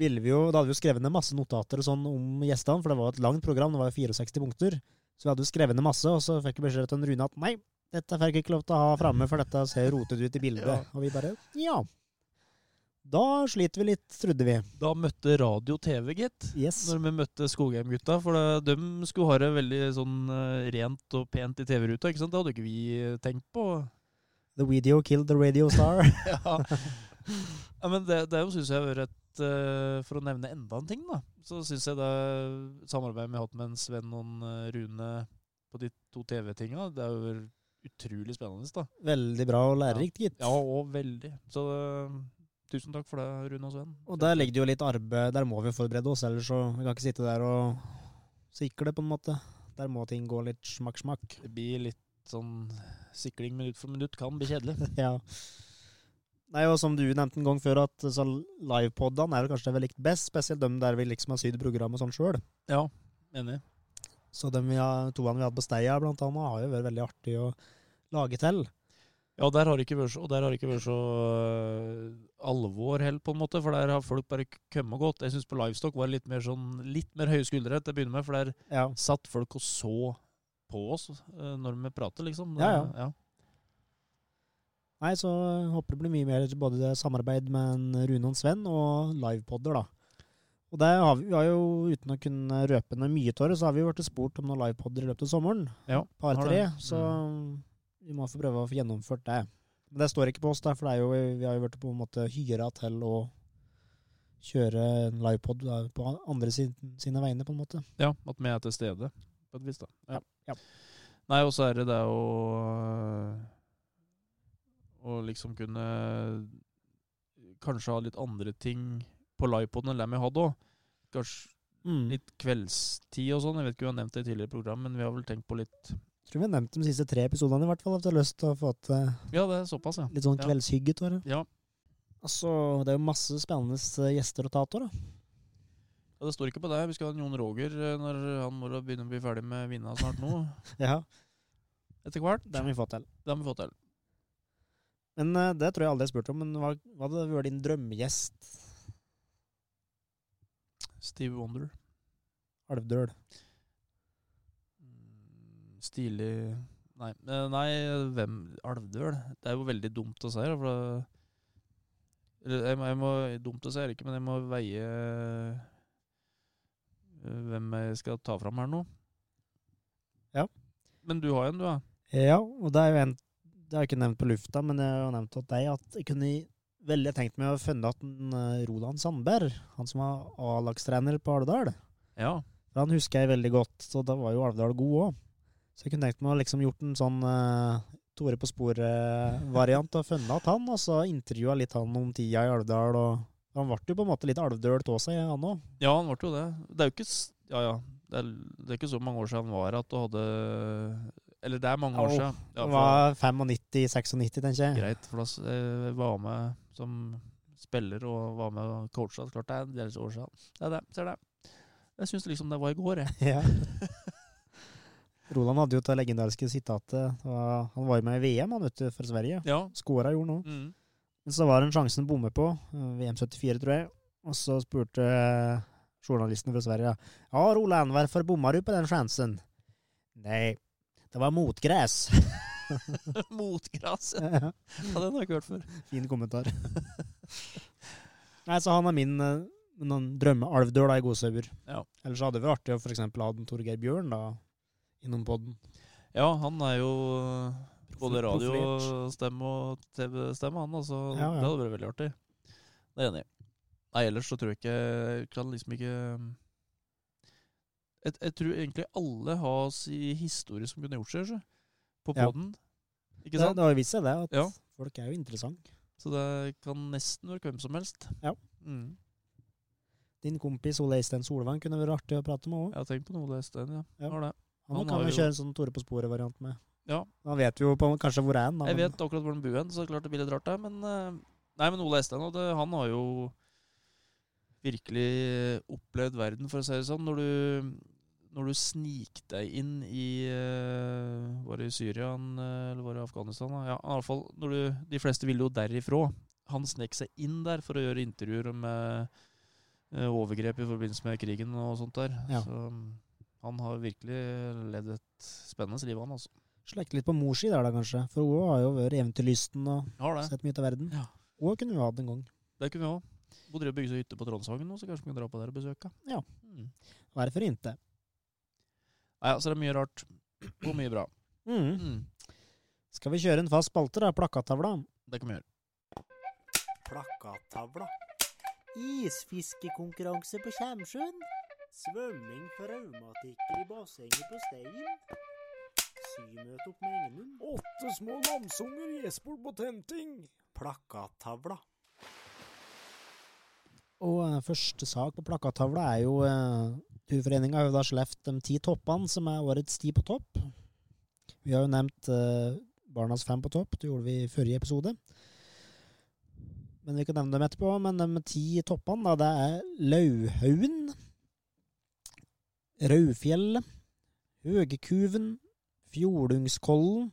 B: ville vi jo, da hadde vi jo skrevet ned masse notater og sånn om gjestene, for det var jo et langt program, det var jo 64 punkter, så vi hadde jo skrevet ned masse, og så fikk vi beskjed til en Rune at nei, dette fikk jeg ikke lov til å ha framme, for dette ser rotet ut i bildet,
C: Ja.
B: og vi bare, ja. Da sliter vi litt, trodde vi.
C: Da møtte radio TV, gitt.
B: Yes.
C: Når vi møtte Skogheim-gutta, for det, de skulle ha det veldig sånn eh, rent og pent i TV-ruta, ikke sant? Det hadde jo ikke vi eh, tenkt på.
B: The video killed the radio
C: (laughs)
B: star.
C: ja. ja, men det, det er jo, synes jeg, har vært et eh, For å nevne enda en ting, da, så syns jeg det samarbeidet vi har hatt med en Sven og en eh, Rune på de to TV-tinga, det er jo utrolig spennende, da.
B: Veldig bra og lærerikt, gitt.
C: Ja, og veldig. Så eh, tusen takk for det, Rune og Sven.
B: Og der ligger det jo litt arbeid. Der må vi forberede oss, ellers så vi kan ikke sitte der og sikle, på en måte. Der må ting gå litt smakk-smakk.
C: (laughs) Det blir litt sånn sikling minutt for minutt kan bli kjedelig.
B: Ja. Nei, og som du nevnte en gang før, at så livepodene er jo kanskje det vi likte best, spesielt dem der vi liksom har sydd programmet sånn sjøl.
C: Ja, enig.
B: Så de toene vi hadde på Steia, blant annet, har jo vært veldig artig å lage til.
C: (laughs) Ja, der har det ikke vært så, og der har det ikke vært så øh, alvor helt, på en måte. For der har folk bare k- kommet og gått. Jeg syns på Livestock var det litt mer sånn, litt mer høye skuldre til å begynne med. For der
B: Ja.
C: satt folk eh, og så på oss øh, når vi prater, liksom.
B: Ja, ja. Nei, så håper det blir mye mer både samarbeid med en Rune og en Sven, og livepodder, da. Og det har vi, vi har jo, uten å kunne røpe noe mye, Tore, så har vi jo blitt spurt om noen livepodder i løpet av sommeren.
C: Ja, har
B: Par-tre.
C: det.
B: Så vi må få prøve å få gjennomført det. Men det står ikke på oss, da, for det er jo, vi har jo vært på en måte hyra til å kjøre en livepod da, på andre sin, sine vegne, på en måte.
C: Ja, at vi er til stede, på et vis, da. Ja.
B: Ja.
C: Nei, og så er det det å eh, Å liksom kunne eh, Kanskje ha litt andre ting på livepoden enn det vi hadde òg. Kanskje
B: Mm.
C: litt kveldstid og sånn. Jeg vet ikke om vi har nevnt det i tidligere program, men vi har vel tenkt på litt
B: Tror vi har nevnt de siste tre episodene, i hvert fall, at jeg har lyst til å få til
C: Ja, det er såpass, ja.
B: litt sånn
C: Ja.
B: kveldshygge, Tore.
C: Ja,
B: Altså, det er jo masse spennende eh, gjester å ta av, da.
C: Ja, Det står ikke på deg. Vi skal ha en Jon Roger eh, når han må da begynne å bli ferdig med vinna snart nå.
B: (laughs) Ja,
C: Etter hvert.
B: det må vi få til.
C: Det har vi fått til.
B: Men eh, det tror jeg aldri jeg spurte om, men hva, hva hadde vært din drømmegjest?
C: Steve Wonder.
B: Alvdøl.
C: Mm, Stilig Nei, eh, nei hvem Alvdøl? Det er jo veldig dumt å si. da, For det, eller, jeg, må- jeg må, dumt å si er det ikke, men jeg må veie eh, hvem jeg skal ta fram her nå.
B: Ja.
C: Men du har en, du, ja?
B: Ja, og det er jo en Det har jeg ikke nevnt på lufta, men jeg har jo nevnt til deg at jeg kunne veldig tenkt meg å funne at en, eh, Roland Sandberg, han som var A-lagstrener på Alvdal
C: Ja.
B: For han husker jeg veldig godt, så da var jo Alvdal god òg. Så jeg kunne tenkt meg å liksom gjort en sånn eh, Tore på sporet-variant og funnet at han, og så intervjua litt han om tida i Alvdal, og han ble jo på en måte litt alvdølt av seg, han òg.
C: Ja, han ble jo det. Det er jo ikke s- Ja, ja. Det er, det er ikke så mange år siden han var at du hadde Eller det er mange år
B: Au.
C: siden. Ja,
B: Han
C: for-
B: var 95-96, tenker jeg.
C: greit, for da s- eh, var han med som spiller og var med og coacha. Klart det er en del år siden. Det er det. Ser det. Jeg syns liksom det var i går, jeg.
B: Ja. (laughs) Roland hadde jo det legendariske sitatet. og Han var jo med i VM han vet du, for Sverige.
C: (laughs) Ja.
B: Skåra gjorde noe.
C: Mm.
B: Men så var det en sjanse han bommer på. eh, VM74, tror jeg. Og så spurte eh, journalisten fra Sverige Ja, Roland, hvorfor bomma du på den sjansen? Nei, det var motgress.
C: (laughs)
B: (laughs)
C: Motgras.
B: fin
C: Ja, den har jeg ikke hørt før.
B: kommentar. Nei, så han er min eh, noen drømmealvdøl da, i Godsauer.
C: Ja.
B: Ellers hadde det vært artig å for eksempel ha den Torgeir Bjørn da, innom podden.
C: Ja, han er jo eh, både
B: Profilert.
C: radiostemme og TV-stemme, han. Altså,
B: Ja, ja.
C: Det hadde vært veldig artig. Det er jeg enig i. Nei, ellers så tror jeg ikke Jeg kan liksom ikke jeg, jeg tror egentlig alle har si historie som kunne gjort seg, så, på
B: Ja.
C: poden. Ikke
B: Det,
C: sant?
B: det har jo vist seg det, at
C: Ja.
B: folk er jo interessante.
C: Så det kan nesten være hvem som helst.
B: Ja.
C: Mm.
B: Din kompis Ole Eistein Solvang kunne vært artig å prate med òg.
C: Jeg har tenkt på noe det stedet, ja.
B: Ja.
C: Har det.
B: Han,
C: han
B: kan
C: har
B: vi
C: jo-
B: kjøre en sånn Tore på sporet-variant med.
C: Ja.
B: Han vet jo på, kanskje hvor er han, da.
C: Jeg
B: men-
C: vet akkurat hvor den bor hen, så klart det blir litt rart der. Men, eh, nei, men Ole Eistein og det- han har jo virkelig opplevd verden, for å si det sånn. Når du, når du snik deg inn i eh, Var det i Syria han, eh, eller var det i Afghanistan? da? Ja, i alle fall, når du, de fleste ville jo derifra. Han snek seg inn der for å gjøre intervjuer med eh, overgrep i forbindelse med krigen og sånt der.
B: Ja.
C: Så mm, han har virkelig levd et spennende liv, han altså.
B: Slekte litt på mors side der, da, kanskje. For hun har jo vært eventyrlysten og
C: Har det.
B: sett mye til verden.
C: Ja.
B: Hun kunne vi hatt en gang.
C: Det kunne vi òg. Bodde og bygde seg hytte på Tronshagen nå, så kanskje vi kan dra på der og besøke.
B: Ja.
C: Mm.
B: Hvorfor ikke?
C: Nei, altså det er mye rart. Og mye bra.
B: Mm.
C: Mm.
B: Skal vi kjøre en fast spalte, da? Plakattavla?
C: Det kan vi gjøre.
I: Plakattavla. Isfiskekonkurranse på Kjemsjøen. Svømming for raumatikere i bassenget på Stein. Symøte opp med Engenum.
A: Åtte små lamsunger i Espol på tenting.
I: Plakattavla.
B: Og eh, første sak på plakattavla er jo eh, Turforeninga har jo da slept de ti toppene som er årets ti på topp. Vi har jo nevnt eh, Barnas fem på topp, det gjorde vi i forrige episode. Men vi kan nevne dem etterpå. Men de ti toppene, da, det er Lauhaugen, Raufjellet, Høgekuven, Fjordungskollen,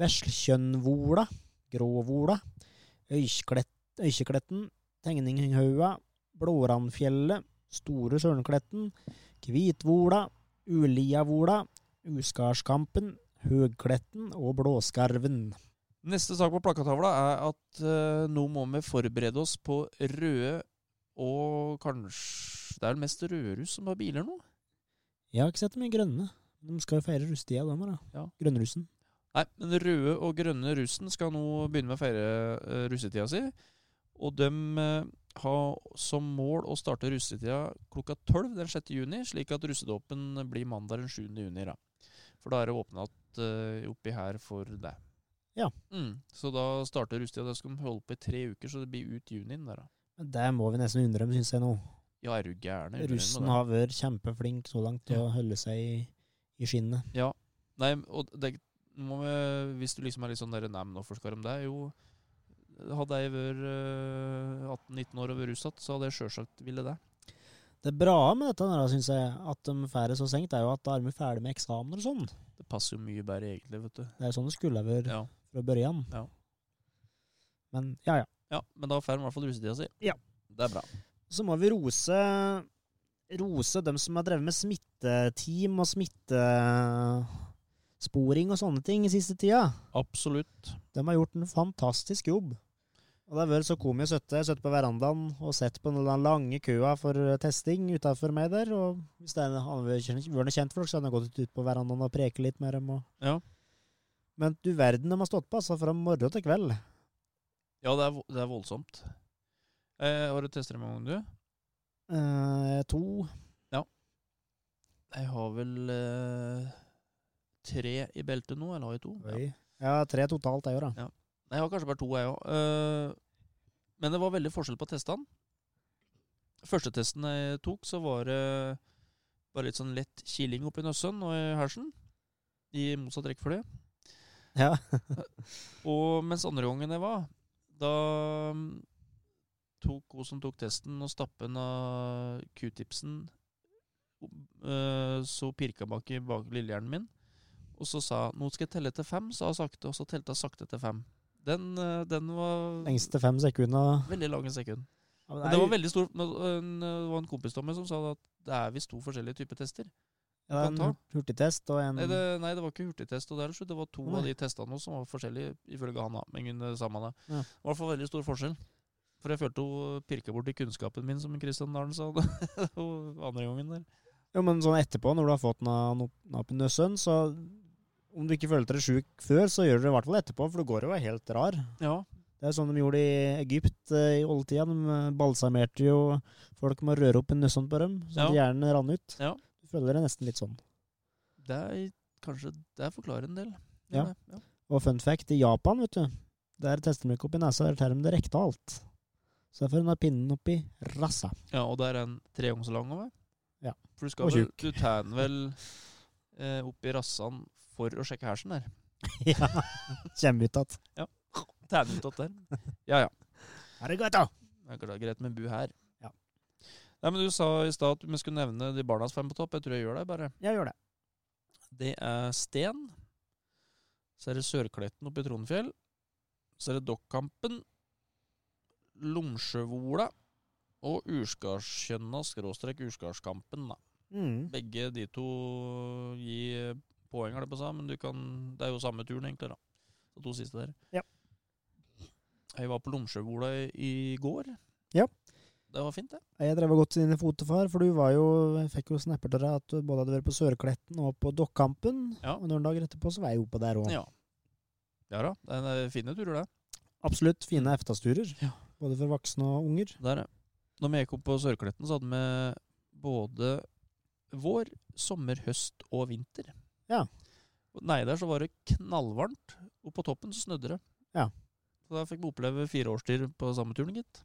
B: Veslekjønnvola, Gråvola, Øysklet- Øykjekletten, Tegninghauga, Blårandfjellet, Store Sørnkletten, Kvitvola, Uliavola, Uskarskampen, Høgkletten og Blåskarven.
C: Neste sak på plakatavla er at eh, nå må vi forberede oss på røde og kanskje Det er vel mest rødruss som har biler nå?
B: Jeg har ikke sett så mye grønne. De skal jo feire russetida, de her, da.
C: Ja.
B: Grønnrussen.
C: Nei, men den røde og grønne russen skal nå begynne med å feire eh, russetida si. Og de eh, har som mål å starte russetida klokka 12 den 6. juni, slik at russedåpen blir mandag den 7. juni. Da. For da er det åpna eh, oppi her for det.
B: Ja.
C: Mm, så da starter russetida. Da skal de holde på i tre uker, så det blir ut junien der, da.
B: Men Det må vi nesten undre dem, syns jeg nå.
C: Ja, er du gæren? Jeg lurer på
B: Russen
C: det.
B: har vært kjempeflink så langt til
C: Ja.
B: å holde seg i, i skinnet.
C: Ja. Nei, og det, må vi, hvis du liksom er litt sånn der Nei, men hvorfor skal de det? Jo, hadde jeg vært eh, 18-19 år og vært russatt, så hadde jeg sjølsagt ville det.
B: Det bra med dette, her, da, synes jeg, at de får det så seint, er jo at da er de ferdig med eksamener og sånn.
C: Det passer jo mye bedre egentlig, vet du.
B: Det er jo sånn det skulle ha vært
C: Ja,
B: fra børjan.
C: Ja.
B: Men ja, ja.
C: ja men da får de i hvert fall russetida si.
B: Ja.
C: Det er bra.
B: Så må vi rose Rose dem som har drevet med smitteteam og smittesporing og sånne ting i siste tida.
C: Absolutt.
B: De har gjort en fantastisk jobb. Og det har vært så komisk å sitte sitte på verandaen og sett på den lange køa for eh, testing utafor meg der. Og hvis det er en- hadde vært kjent- vært noe kjentfolk, så hadde jeg gått ut på verandaen og preket litt med dem. Og...
C: Ja.
B: Men du verden, de har stått på altså fra morgen til kveld.
C: Ja, det er, vo- det er voldsomt. Eh, har du tester i mange ganger, du?
B: Eh, to
C: Jeg har vel eh, tre i beltet nå, eller har jeg to? Ja.
B: Oi. Ja, tre totalt, jeg òg, da.
C: Nei, jeg har kanskje bare to, jeg òg. men det var veldig forskjell på testene. Første testen jeg tok, så var det bare litt sånn lett kiling oppi nøssen og i hersen. I motsatt rekkefølge.
B: Ja.
C: Og mens andre gangen jeg var, da mm, tok hun som tok testen, og stappen av q-tipsen eh, så pirka bak i bak lillehjernen min. Og så sa hun 'nå skal jeg telle til fem', sa hun sakte, og så telte hun sakte til fem. Den, eh, den var
B: Lengste fem sekunder.
C: veldig lange sekund.
B: Ja, men
C: Men det var veldig stor men, eh, en, eh, Det var en kompis av meg som sa at det er visst to forskjellige typer tester.
B: Ja, det er en
C: kan
B: hurt- hurtigtest og en
C: Nei, det, nei, det var ikke hurtigtest. og Det, er slutt. det var to
B: Mm. Nei.
C: av de testene også som var forskjellige, ifølge han. da, Men hun, eh, samme det.
B: Ja.
C: Det var i hvert fall veldig stor forskjell. For jeg følte hun øh, pirka borti kunnskapen min, som Kristian Dalen sa (laughs) hun andre gangen. der.
B: Jo, men sånn etterpå, når du har fått den opp- den opp i nøssen, så om du ikke følte deg sjuk før, så gjør du det i hvert fall etterpå, for du går jo helt rar.
C: Ja,
B: Det er sånn de gjorde i Egypt eh, i oldtida. De eh, balsamerte jo folk med å røre opp i nøssen på dem,
C: Ja.
B: så hjernen rann ut.
C: Ja.
B: Du føler det nesten litt sånn.
C: det er kanskje Det forklarer en del.
B: Ja.
C: det- ja.
B: Og fun fact, i Japan, vet du, der tester de ikke opp i nesa, der tar de det rekte og alt. Så derfor har de pinnen opp i rassa.
C: Ja, og det er en tre ganger så lang òg,
B: Ja.
C: For du skal
B: Og
C: vel,
B: tjukk.
C: du tar den vel eh, opp i rassan for å sjekke hersen der.
B: ja, kommer ut at.
C: Tar den ut att der. Ja ja.
B: Er det godt, da?
C: Det er klart greit med bu her.
B: Ja.
C: Nei, men Du sa i stad at vi skulle nevne de barnas fem på topp. Jeg tror jeg gjør det, bare.
B: Ja, gjør det.
C: Det er Sten. Så er det Sørkletten oppe i Trondfjell. Så er det Dokkampen. Lomsjøvola. Og Urskardskjønna skråstrek Urskardkampen, da.
B: Mm.
C: Begge de to gir poeng, har det på seg, men du kan, det er jo samme turen, egentlig. da. De to siste der.
B: Ja.
C: Jeg var på Lomsjøvola i, i går.
B: Ja.
C: Det var fint, det.
B: Jeg drev og gått dine fotefar, for du var jo, jeg fikk jo snapper til deg at du både hadde vært på Sørkletten og på Dokkampen.
C: Ja.
B: Og noen dager etterpå så var jeg oppe der òg.
C: Ja. Ja da. Det er en- eh, fine turer, det.
B: Absolutt fine eftasturer.
C: Ja.
B: Både for voksne og unger.
C: Der, ja. Når vi gikk opp på Sørkletten, så hadde vi både vår, sommer, høst og vinter.
B: Ja.
C: Og Nei, der så var det knallvarmt, og på toppen så snødde det.
B: Ja.
C: Så da fikk vi oppleve fire årstider på samme turen, gitt.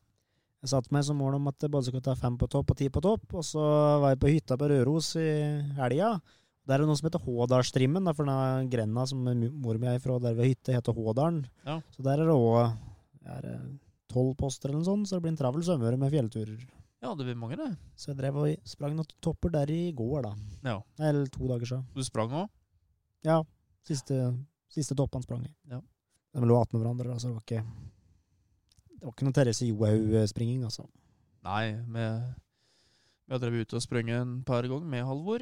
B: Jeg satte meg som mål om at jeg både skulle ta fem på topp og ti på topp, og så var jeg på hytta på Røros i helga. Der er det noe som heter Hådalstrimmen, da, for den grenda som mu- mor mi er ifra der ved hytta, heter Hådalen.
C: Ja.
B: Så der er det òg tolv poster eller noe sånt, så det blir en travel sommer med fjellturer.
C: Ja, det blir mange, det.
B: Så jeg drev og sprang noen topper der i går, da.
C: Ja.
B: Eller to dager siden.
C: Du sprang òg?
B: Ja. Siste, siste toppen sprang i.
C: Ja.
B: De lå attmed hverandre, da, så det var ikke Det var ikke noe Therese Johaug-springing, altså.
C: Nei, vi, vi har drevet ute og sprunget en par ganger med Halvor.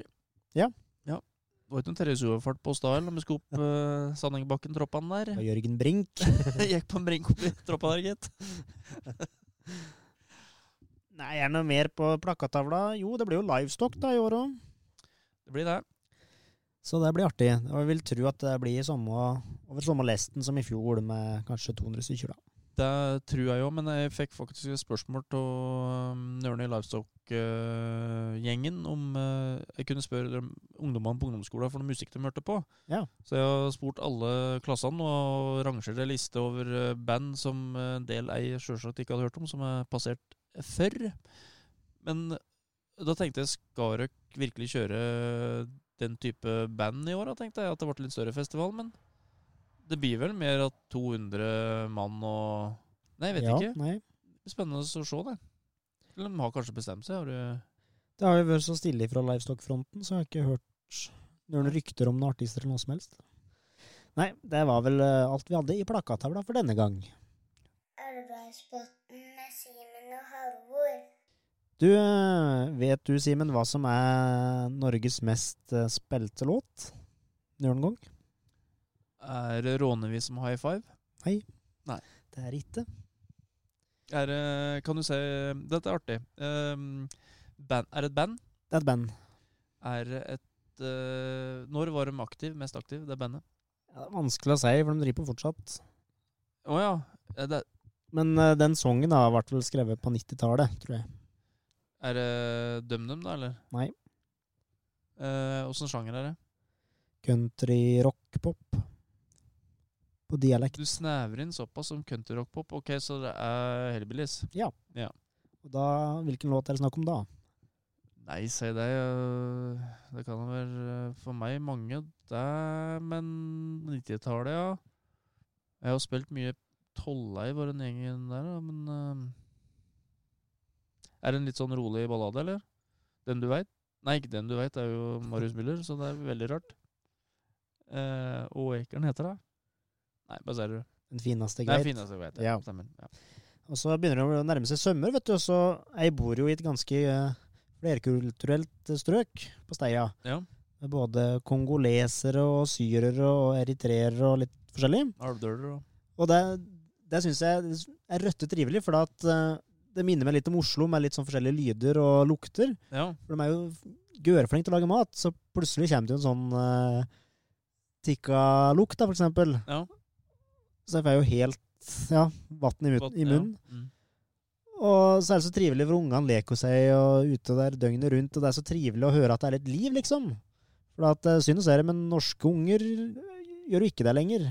B: Ja.
C: ja. Det var ikke noen terrasseoverfart på oss da, eller? Når vi skulle opp uh, Sandengbakken-troppene der.
B: Og Jørgen Brink.
C: (laughs) Gikk på en brink opp i troppa der, gitt.
B: (laughs) Nei, er det noe mer på plakattavla? Jo, det blir jo livestock da i år òg.
C: Det blir det.
B: Så det blir artig. Og jeg vil tro at det blir samme, over samme lesten som i fjor, med kanskje 200 stykker. da.
C: Det tror jeg jo, men jeg fikk faktisk et spørsmål av um, Nørne i Livestock-gjengen om eh, jeg kunne spørre dem, ungdommene på ungdomsskolen for noe musikk de hørte på.
B: Ja.
C: Så jeg har spurt alle klassene og rangert en liste over eh, band som eh, en del jeg sjølsagt ikke hadde hørt om, som er passert før. Men eh, da tenkte jeg, skal dere virkelig kjøre eh, den type band i år? Da tenkte jeg at det ble litt større festival, men det blir vel mer at 200 mann og Nei, jeg vet
B: ja,
C: ikke.
B: Nei.
C: Spennende å se, det. Eller de har kanskje bestemt seg. Har du...
B: Det har jo vært så stille fra livestock-fronten, så jeg har ikke hørt noen rykter om noen artister eller noe som helst. Nei, det var vel eh, alt vi hadde i plakattavla for denne gang.
J: Arbeidsbotn med Simen og Halvor.
B: Du, eh, vet du, Simen, hva som er Norges mest eh, spilte låt? Noen gang?
C: Er det rånevis som high five?
B: Det er ikke.
C: Er, det- kan du se Dette er artig. Ehm, band, er det et band?
B: Det er et band.
C: Er det et eh, Når var de aktiv, mest aktiv, det bandet?
B: Ja, det er vanskelig å si, for de driver på fortsatt.
C: Å ja. Er det,
B: Men eh, den sangen har vært vel skrevet på 90-tallet, tror jeg.
C: er det DumDum, da, eller? Eh,
B: Nei.
C: Åssen sjanger er det?
B: Country rock pop. På dialekt.
C: Du snevrer inn såpass som countryrock-pop. Ok, så det er Hellbillies.
B: Og da, hvilken låt er det snakk om da?
C: Nei, si det. øh, Det kan være øh, for meg mange det, men 90-tallet, ja. Jeg har spilt mye Tollei, var den gjengen der, da, men øh, Er det en litt sånn rolig ballade, eller? Den du veit? Nei, ikke den du veit, det er jo Marius Müller, så det er veldig rart. Eh, og Ekeren heter det. Nei, bare sier du.
B: Den fineste
C: Det er
B: greit.
C: fineste jeg vet. Ja.
B: Ja.
C: Stemmer. Ja.
B: Og så begynner det å nærme seg sømmer, vet du. Og så jeg bor jo i et ganske eh, flerkulturelt strøk på Steia.
C: Ja.
B: Med både kongolesere og syrere og eritreere og litt forskjellig.
C: Alvdøler og
B: Og det, det syns jeg er røtte trivelig, for at eh, det minner meg litt om Oslo med litt sånn forskjellige lyder og lukter.
C: Ja.
B: For de er jo gørflinke til å lage mat, så plutselig kommer det jo en sånn uh, tikka-lukt, da, for eksempel.
C: Ja.
B: Så jeg får jo helt ja, vann i, mut-
C: godt,
B: i munnen.
C: Ja. Mm.
B: Og så er det så trivelig, for ungene leker seg og ute der døgnet rundt, og det er så trivelig å høre at det er litt liv, liksom. For at, eh, synd å si det, men norske unger eh, gjør jo ikke det lenger.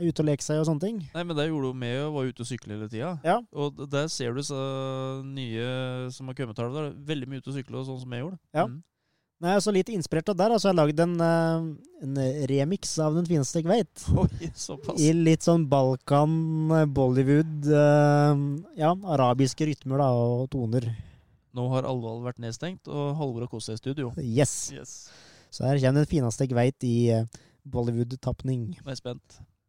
B: Er ute og leker seg og sånne ting.
C: Nei, men det gjorde jo med å være ute og sykle hele tida.
B: Ja.
C: Og d- der ser du så nye som har kommet her. da. Veldig mye ute og sykle, og sånn som jeg gjorde.
B: Ja.
C: Mm. (laughs)
B: Nei, altså litt inspirert av der, altså jeg har lagd en, eh, en remix av Den fineste jeg veit.
C: Oi, såpass.
B: I litt sånn Balkan, eh, Bollywood, eh, ja, arabiske rytmer da, og toner.
C: Nå har Alvdal vært nedstengt, og Halvor har kost seg i studio.
B: Yes.
C: Yes.
B: Så her kommer Den fineste jeg veit i eh, Bollywood-tapning.
C: Nå er jeg spent.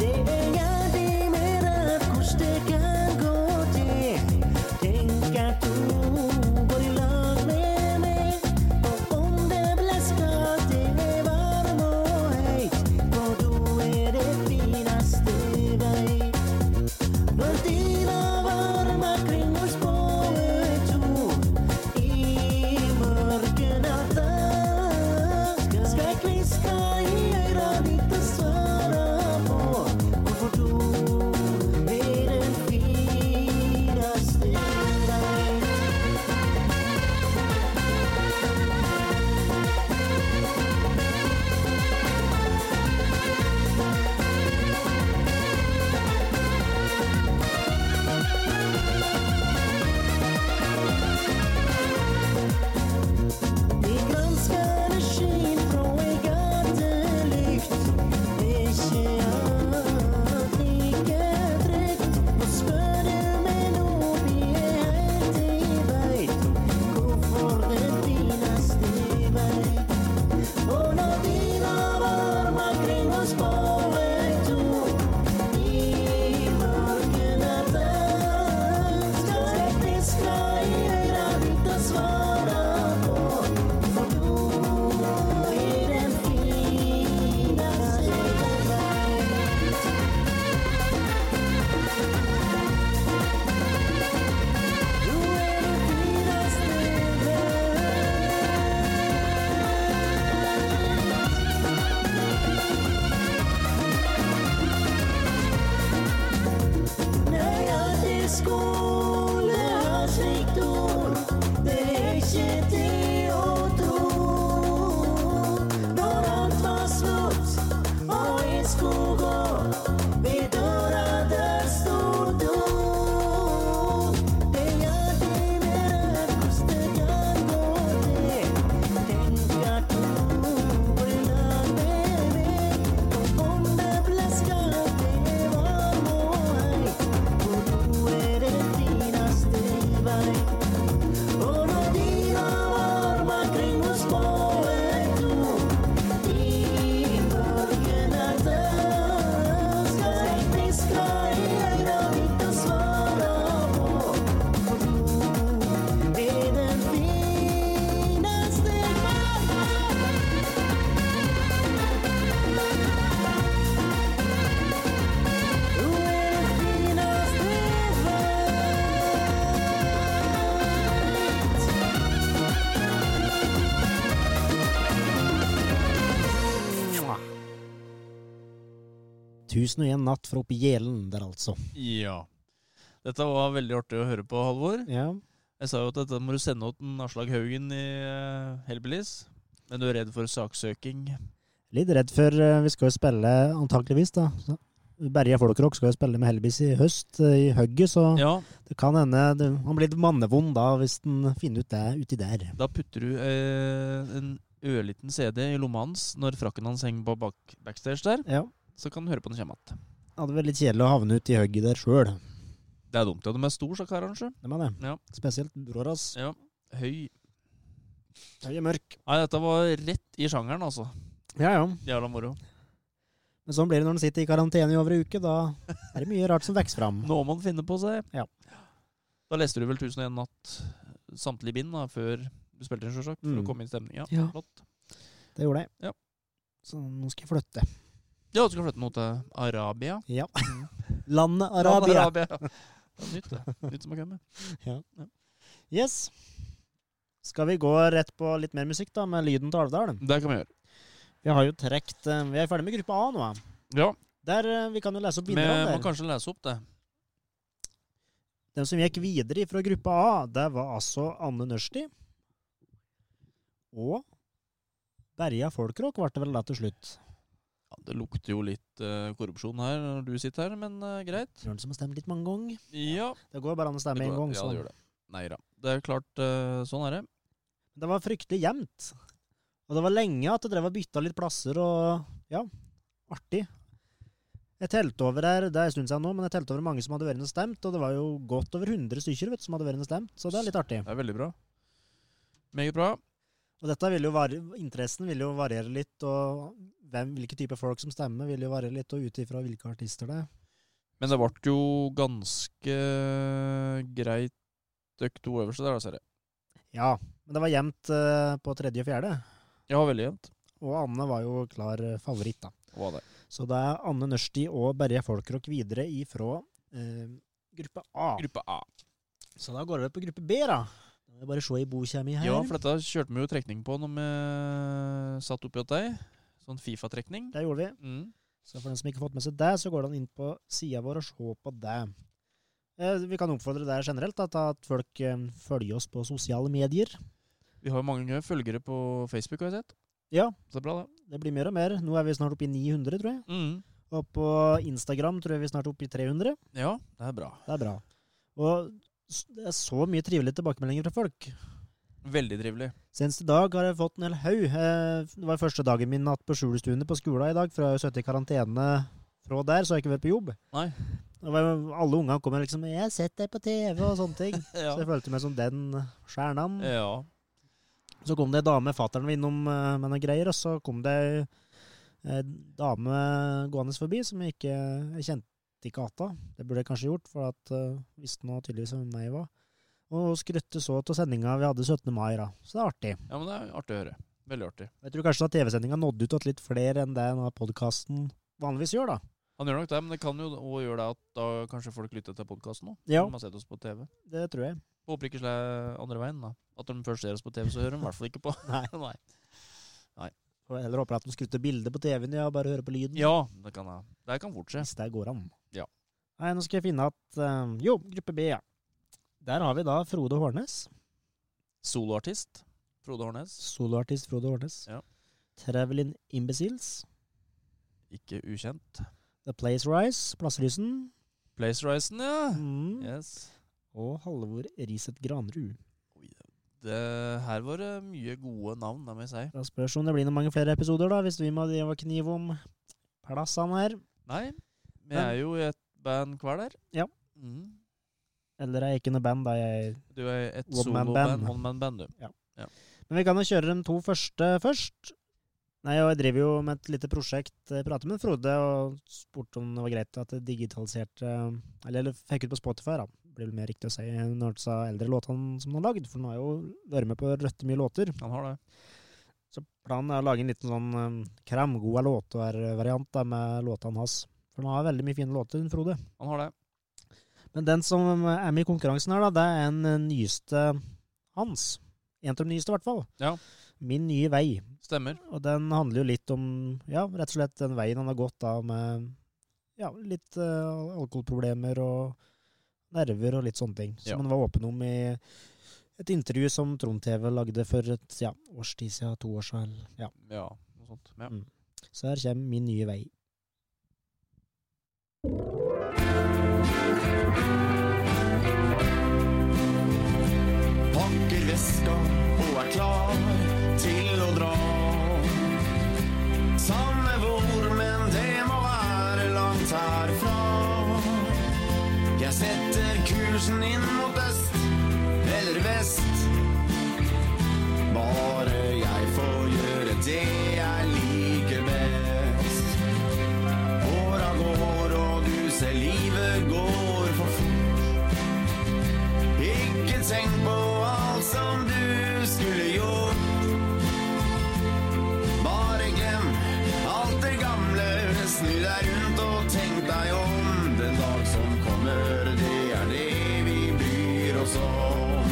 J: Det er jeg, det med deg, hvordan det kan
K: i skog og ved døra der står du. Det er det nærmeste jeg går det. Tenk at du vil la det ved. Og om det blesker, det var moi. For du er det fineste i vei. Og når dine varmer kring oss må er du.
B: Tusen og en natt fra oppi Jælen der, altså.
C: Ja. Dette var veldig artig å høre på, Halvor.
B: Ja.
C: Jeg sa jo at dette må du sende ut en Aslak Haugen i eh, Hellbillies. Men du er redd for saksøking.
B: Litt redd for eh, Vi skal jo spille, antakeligvis, da. Så- Berja Folkrock skal jo spille med Hellbiz i høst, eh, i hugget, så
C: Ja,
B: det kan hende det, han blir litt mannevond da, hvis han finner ut det uti der.
C: da putter du eh, en ørliten CD i lomma hans når frakken hans henger på bak backstage der.
B: Ja.
C: Så kan du høre på den kommer igjen.
B: Hadde vært litt kjedelig å havne uti hugget der sjøl.
C: Det er dumt. Ja, de er stor, sa karene. sjø.
B: Det var det.
C: Ja.
B: Spesielt bror hans.
C: Ja. Høy.
B: Høy og mørk.
C: Nei, dette var rett i sjangeren, altså.
B: Ja, ja.
C: Jævla moro.
B: Men sånn blir det når han sitter i karantene i over ei uke. Da er det mye rart som
C: (laughs)
B: vokser fram.
C: Nå må han finne på seg.
B: Ja.
C: Da leste du vel 1001 natt samtlige bind da, før du spilte den, sjølsagt? For
B: Mm.
C: å komme inn i stemning. Ja,
B: Ja.
C: flott.
B: Det gjorde jeg.
C: Ja.
B: Så nå skal jeg flytte.
C: Ja, du skal flytte noe til Arabia.
B: Ja.
C: Mm.
B: (laughs) Landet
C: Ja,
B: Arabia.
C: Arabia. Det er nytt, det. Nytt som har kommet.
B: Yes. Skal vi gå rett på litt mer musikk, da, med lyden til Alvdal?
C: (laughs) Det kan vi gjøre.
B: Vi har jo trekt eh, Vi er ferdig med gruppe A nå. eh.
C: Ja,
B: Der, eh, Vi kan jo lese opp
C: Vi må
B: vinnerne der.
C: kanskje lese opp det.
B: Den som gikk videre fra gruppe A, det var altså Anne Nørsti. Og Berja Folkrock ble det vel da til slutt.
C: Ja, det lukter jo litt eh, korrupsjon her når du sitter her, men eh, greit.
B: Tror han som har stemt litt mange ganger.
C: Ja.
B: Det går bare an å
C: Det
B: stemme én
C: går-
B: gang. sånn.
C: ja,
B: så-
C: det gjør det. Nei da. Det er klart, eh, sånn er det.
B: Det var fryktelig jevnt. Og det var lenge at det drev og bytta litt plasser, og ja, artig. Jeg telte over her, det er en stund siden nå, men jeg telte over mange som hadde vært inne og stemt, og det var jo godt over 100 stykker vet, du, som hadde vært inne og stemt, så det er litt artig.
C: Det er veldig bra. Meget bra.
B: Og dette vil jo var interessen vil jo variere litt, og hvem, hvilke type folk som stemmer vil jo variere litt, og ut ifra hvilke artister det er.
C: Men det ble jo ganske greit døkk to øverste der, da, ser jeg.
B: Ja, men det var jevnt eh, på tredje og fjerde,
C: Ja, veldig jevnt.
B: og Anne var jo klar eh, favoritt da.
C: Hva det?
B: Så det er Anne Nørsti og Berje Folkrock videre ifra eh, gruppe A.
C: Gruppe A.
B: Så da går det over på gruppe B, da. Da må jeg bare se i boka mi her.
C: Ja, for dette kjørte vi jo trekning på når vi eh, satt oppi hos deg. Sånn Fifa-trekning.
B: Det gjorde vi.
C: Mm.
B: Så for den som ikke har fått med seg det, så går den inn på sida vår og ser på det. Eh, vi kan oppfordre deg generelt da, til at folk eh, følger oss på sosiale medier.
C: Vi har jo mange følgere på Facebook, har jeg sett.
B: Ja.
C: Så det er bra, det.
B: Det blir mer og mer. Nå er vi snart oppe i 900, tror jeg.
C: Mm.
B: Og på Instagram tror jeg vi er snart oppe i 300.
C: Ja, det er bra.
B: Det er bra. Og s- det er så mye trivelige tilbakemeldinger fra folk.
C: Veldig trivelig.
B: Senest i dag har jeg fått en hel haug. Eh, Det var første dagen min natt på skjulestuene på skolen i dag. For jeg har jo sittet i karantene fra der, så har jeg ikke vært på jobb.
C: Nei.
B: Det var jo- Alle ungene kommer liksom 'Jeg har sett deg på TV' og sånne ting.
C: (laughs) Ja.
B: Så jeg følte meg som den stjerna.
C: ja.
B: Så kom det ei dame, fattern var innom eh, med noen greier, og så kom det ei eh, dame gående forbi som jeg ikke jeg kjente ikke igjen. Det burde jeg kanskje gjort, for at eh, visste nå tydeligvis hvem jeg var. Og skrøtte så av sendinga vi hadde 17. mai, da. Så det er artig.
C: ja, men det er artig å høre. Veldig artig.
B: Jeg tror kanskje at TV-sendinga nådde ut til litt flere enn det podkasten vanligvis gjør, da.
C: Han gjør nok det, men det kan jo også gjøre det at da kanskje folk lytter til podkasten òg.
B: Ja.
C: De har sett oss på TV.
B: Det tror jeg.
C: Håper ikke det er andre veien, da. At de først ser oss på TV, så hører de i hvert fall ikke på.
B: (laughs) Nei.
C: (laughs) Nei.
B: Og heller håper at de skrutter bildet på TV-en, ja, bare hører på lyden.
C: Ja, det kan jeg. Det kan fort skje.
B: Hvis det går an.
C: Ja.
B: Nei, nå skal jeg finne at eh, Jo, gruppe B, ja. Der har vi da Frode Hårnes.
C: Soloartist. Frode Hårnes.
B: Soloartist Frode Hårnes.
C: Ja.
B: Travelin Imbeciles.
C: ikke ukjent.
B: The Place Rise, Plasselysen.
C: Place Risen, ja.
B: Mm.
C: Yes.
B: Og Halvor Riset Granrud.
C: Det, her var det mye gode navn, det må jeg si.
B: Da spørs om det blir noen mange flere episoder, da, hvis vi må drive og knive om plassene her.
C: Nei, vi
B: Men-
C: er jo i et band hver der.
B: Ja.
C: Mhm.
B: Eller er jeg ikke noe band, da jeg
C: Du er et
B: One-man
C: soloband,
B: band.
C: one-man-band, du.
B: Men vi kan jo kjøre de to første først. Nei, og Jeg driver jo med et lite prosjekt. Jeg pratet med Frode og spurte om det var greit at jeg digitaliserte Eller, eller fikk ut på Spotify, da. Blir vel mer riktig å si når det sa eldre låtene som han har lagd. For han har jo vært med på røtte mye låter.
C: Han har det.
B: Så planen er å lage en liten sånn um, kramgoda låter-variant da, med låtene hans. For han har veldig mye fine låter, den Frode.
C: Han har det.
B: Men den som um, er med i konkurransen her, da, det er en eh, nyeste hans. En av de nyeste, i hvert fall.
C: Ja.
B: Min nye vei.
C: Stemmer.
B: Og den handler jo litt om ja, rett og slett den veien han har gått da med ja, litt eh, alkoholproblemer og nerver og litt sånne ting. Som
C: Ja.
B: han var åpen om i et intervju som Trond TV lagde for et ja, års tid siden, to år siden. eller- Ja.
C: Ja, noe sånt. Ja.
B: Mm. Så her kommer min nye vei.
L: Pakker veska og er klar til å dra. Samme hvor, men det må være langt herfra. Jeg setter kursen inn mot øst eller vest. Bare jeg får gjøre det jeg liker best. Åra går, og du ser livet går for fort. Ikke tenk på alt som du skulle gjort. Bare glem alt det gamle. Snu deg rundt og tenk deg om. Den dag som kommer, det er det vi bryr oss om.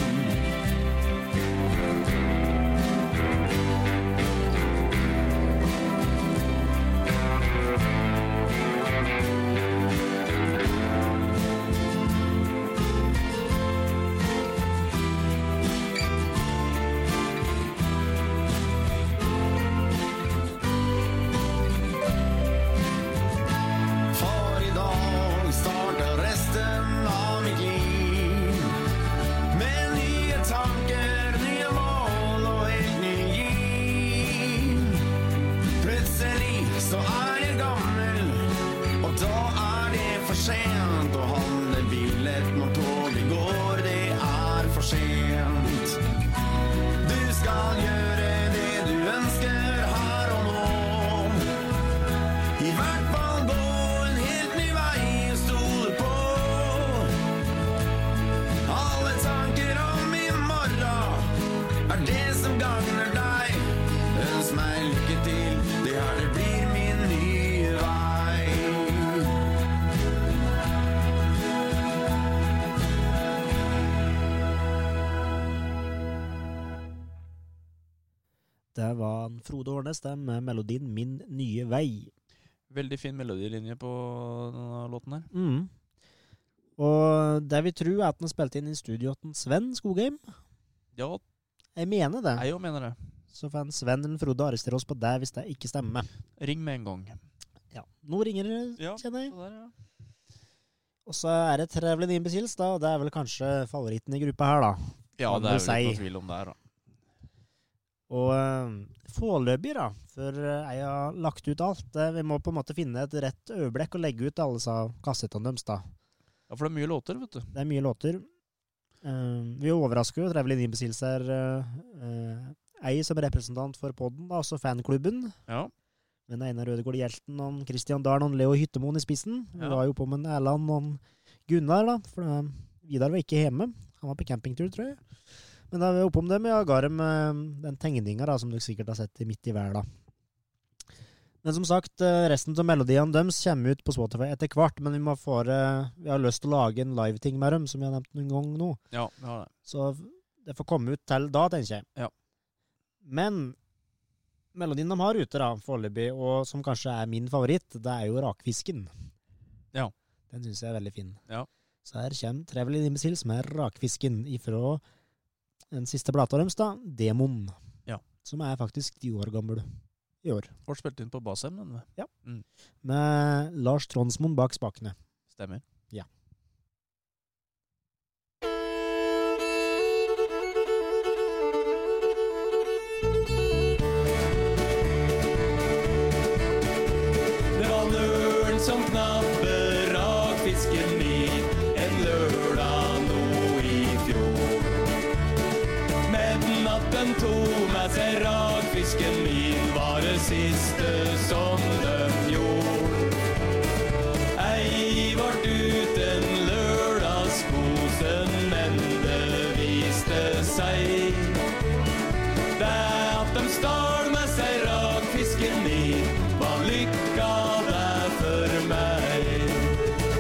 L: For i dag starter resten av mitt liv Med nye tanker, nye mål og helt ny giv Plutselig så er jeg gammel Og da er det for sent Å handle billett når toget går Det er for sent Du skal gjøre det du ønsker her og nå i hvert fall gå en helt ny vei og stole på. Alle tanker om i morgen er det som gagner deg. Ønsk meg lykke til, det her det blir min nye vei.
B: Det var en Frode Årnes, det, med melodien 'Min nye vei'.
C: Veldig fin melodilinje på denne låten her.
B: Mm. Og det vi tror, er at den er spilt inn i studio til Sven Skogheim.
C: Ja,
B: Jeg mener det.
C: jeg jo mener det.
B: Så får en Sven eller Frode arrestere oss på det hvis det ikke stemmer.
C: Ring med en gang.
B: Ja. Nå ringer det,
C: Ja,
B: kjenner jeg.
C: så der, ja.
B: Og så er det Traveling Imbeciles, da. Og det er vel kanskje favoritten i gruppa her, da.
C: ja,
B: Kan
C: det er vel
B: du
C: ikke
B: si.
C: noe tvil om det her, da.
B: Og eh, foreløpig, da, for eh, jeg har lagt ut alt eh, Vi må på en måte finne et rett øyeblikk og legge ut alle disse kassettene deres, da.
C: Ja, for det er mye låter, vet du.
B: Det er mye låter. Eh, vi overrasker jo Traveling Imbeciles her. eh, eh, ei som representant for podden, da, altså fanklubben.
C: Ja.
B: med Einar Ødegaard Hjelten og Kristian Dahl og Leo Hyttemoen i spissen. Vi
C: Ja.
B: var jo på med en Erland og en Gunnar, da. For eh, Vidar var ikke hjemme. Han var på campingtur, tror jeg. Men da var vi oppe om dem, ja, ga dem eh, den tegninga da, som dere sikkert har sett i midt i verden. Men som sagt, eh, resten av melodiene deres kommer ut på Spotify etter hvert. Men vi, må få, det- vi har lyst til å lage en liveting med dem, som vi har nevnt noen gang nå.
C: Ja, vi har det.
B: Så det får komme ut til da, tenker jeg.
C: Ja.
B: Men melodien de har ute da, foreløpig, og som kanskje er min favoritt, det er jo Rakfisken.
C: Ja.
B: Den syns jeg er veldig fin.
C: Ja.
B: Så her kommer Traveling Imbeciles med Rakfisken ifra den siste plata deres, da, Demon.
C: Ja.
B: Som er faktisk ti år gammel. i år.
C: Ble spilt inn på Basheim, den.
B: Ja.
C: Mm.
B: Med Lars Tronsmoen bak spakene.
C: Stemmer.
B: Ja.
K: Det var nøren som knabber rakfisken min en lørdag nå i fjor. Midnatten tok med seg rakfisken min, var det siste som den gjorde. Ei vart uten lørdagskosen, men det viste seg det at de stal med seg rakfisken i, var lykka det for meg.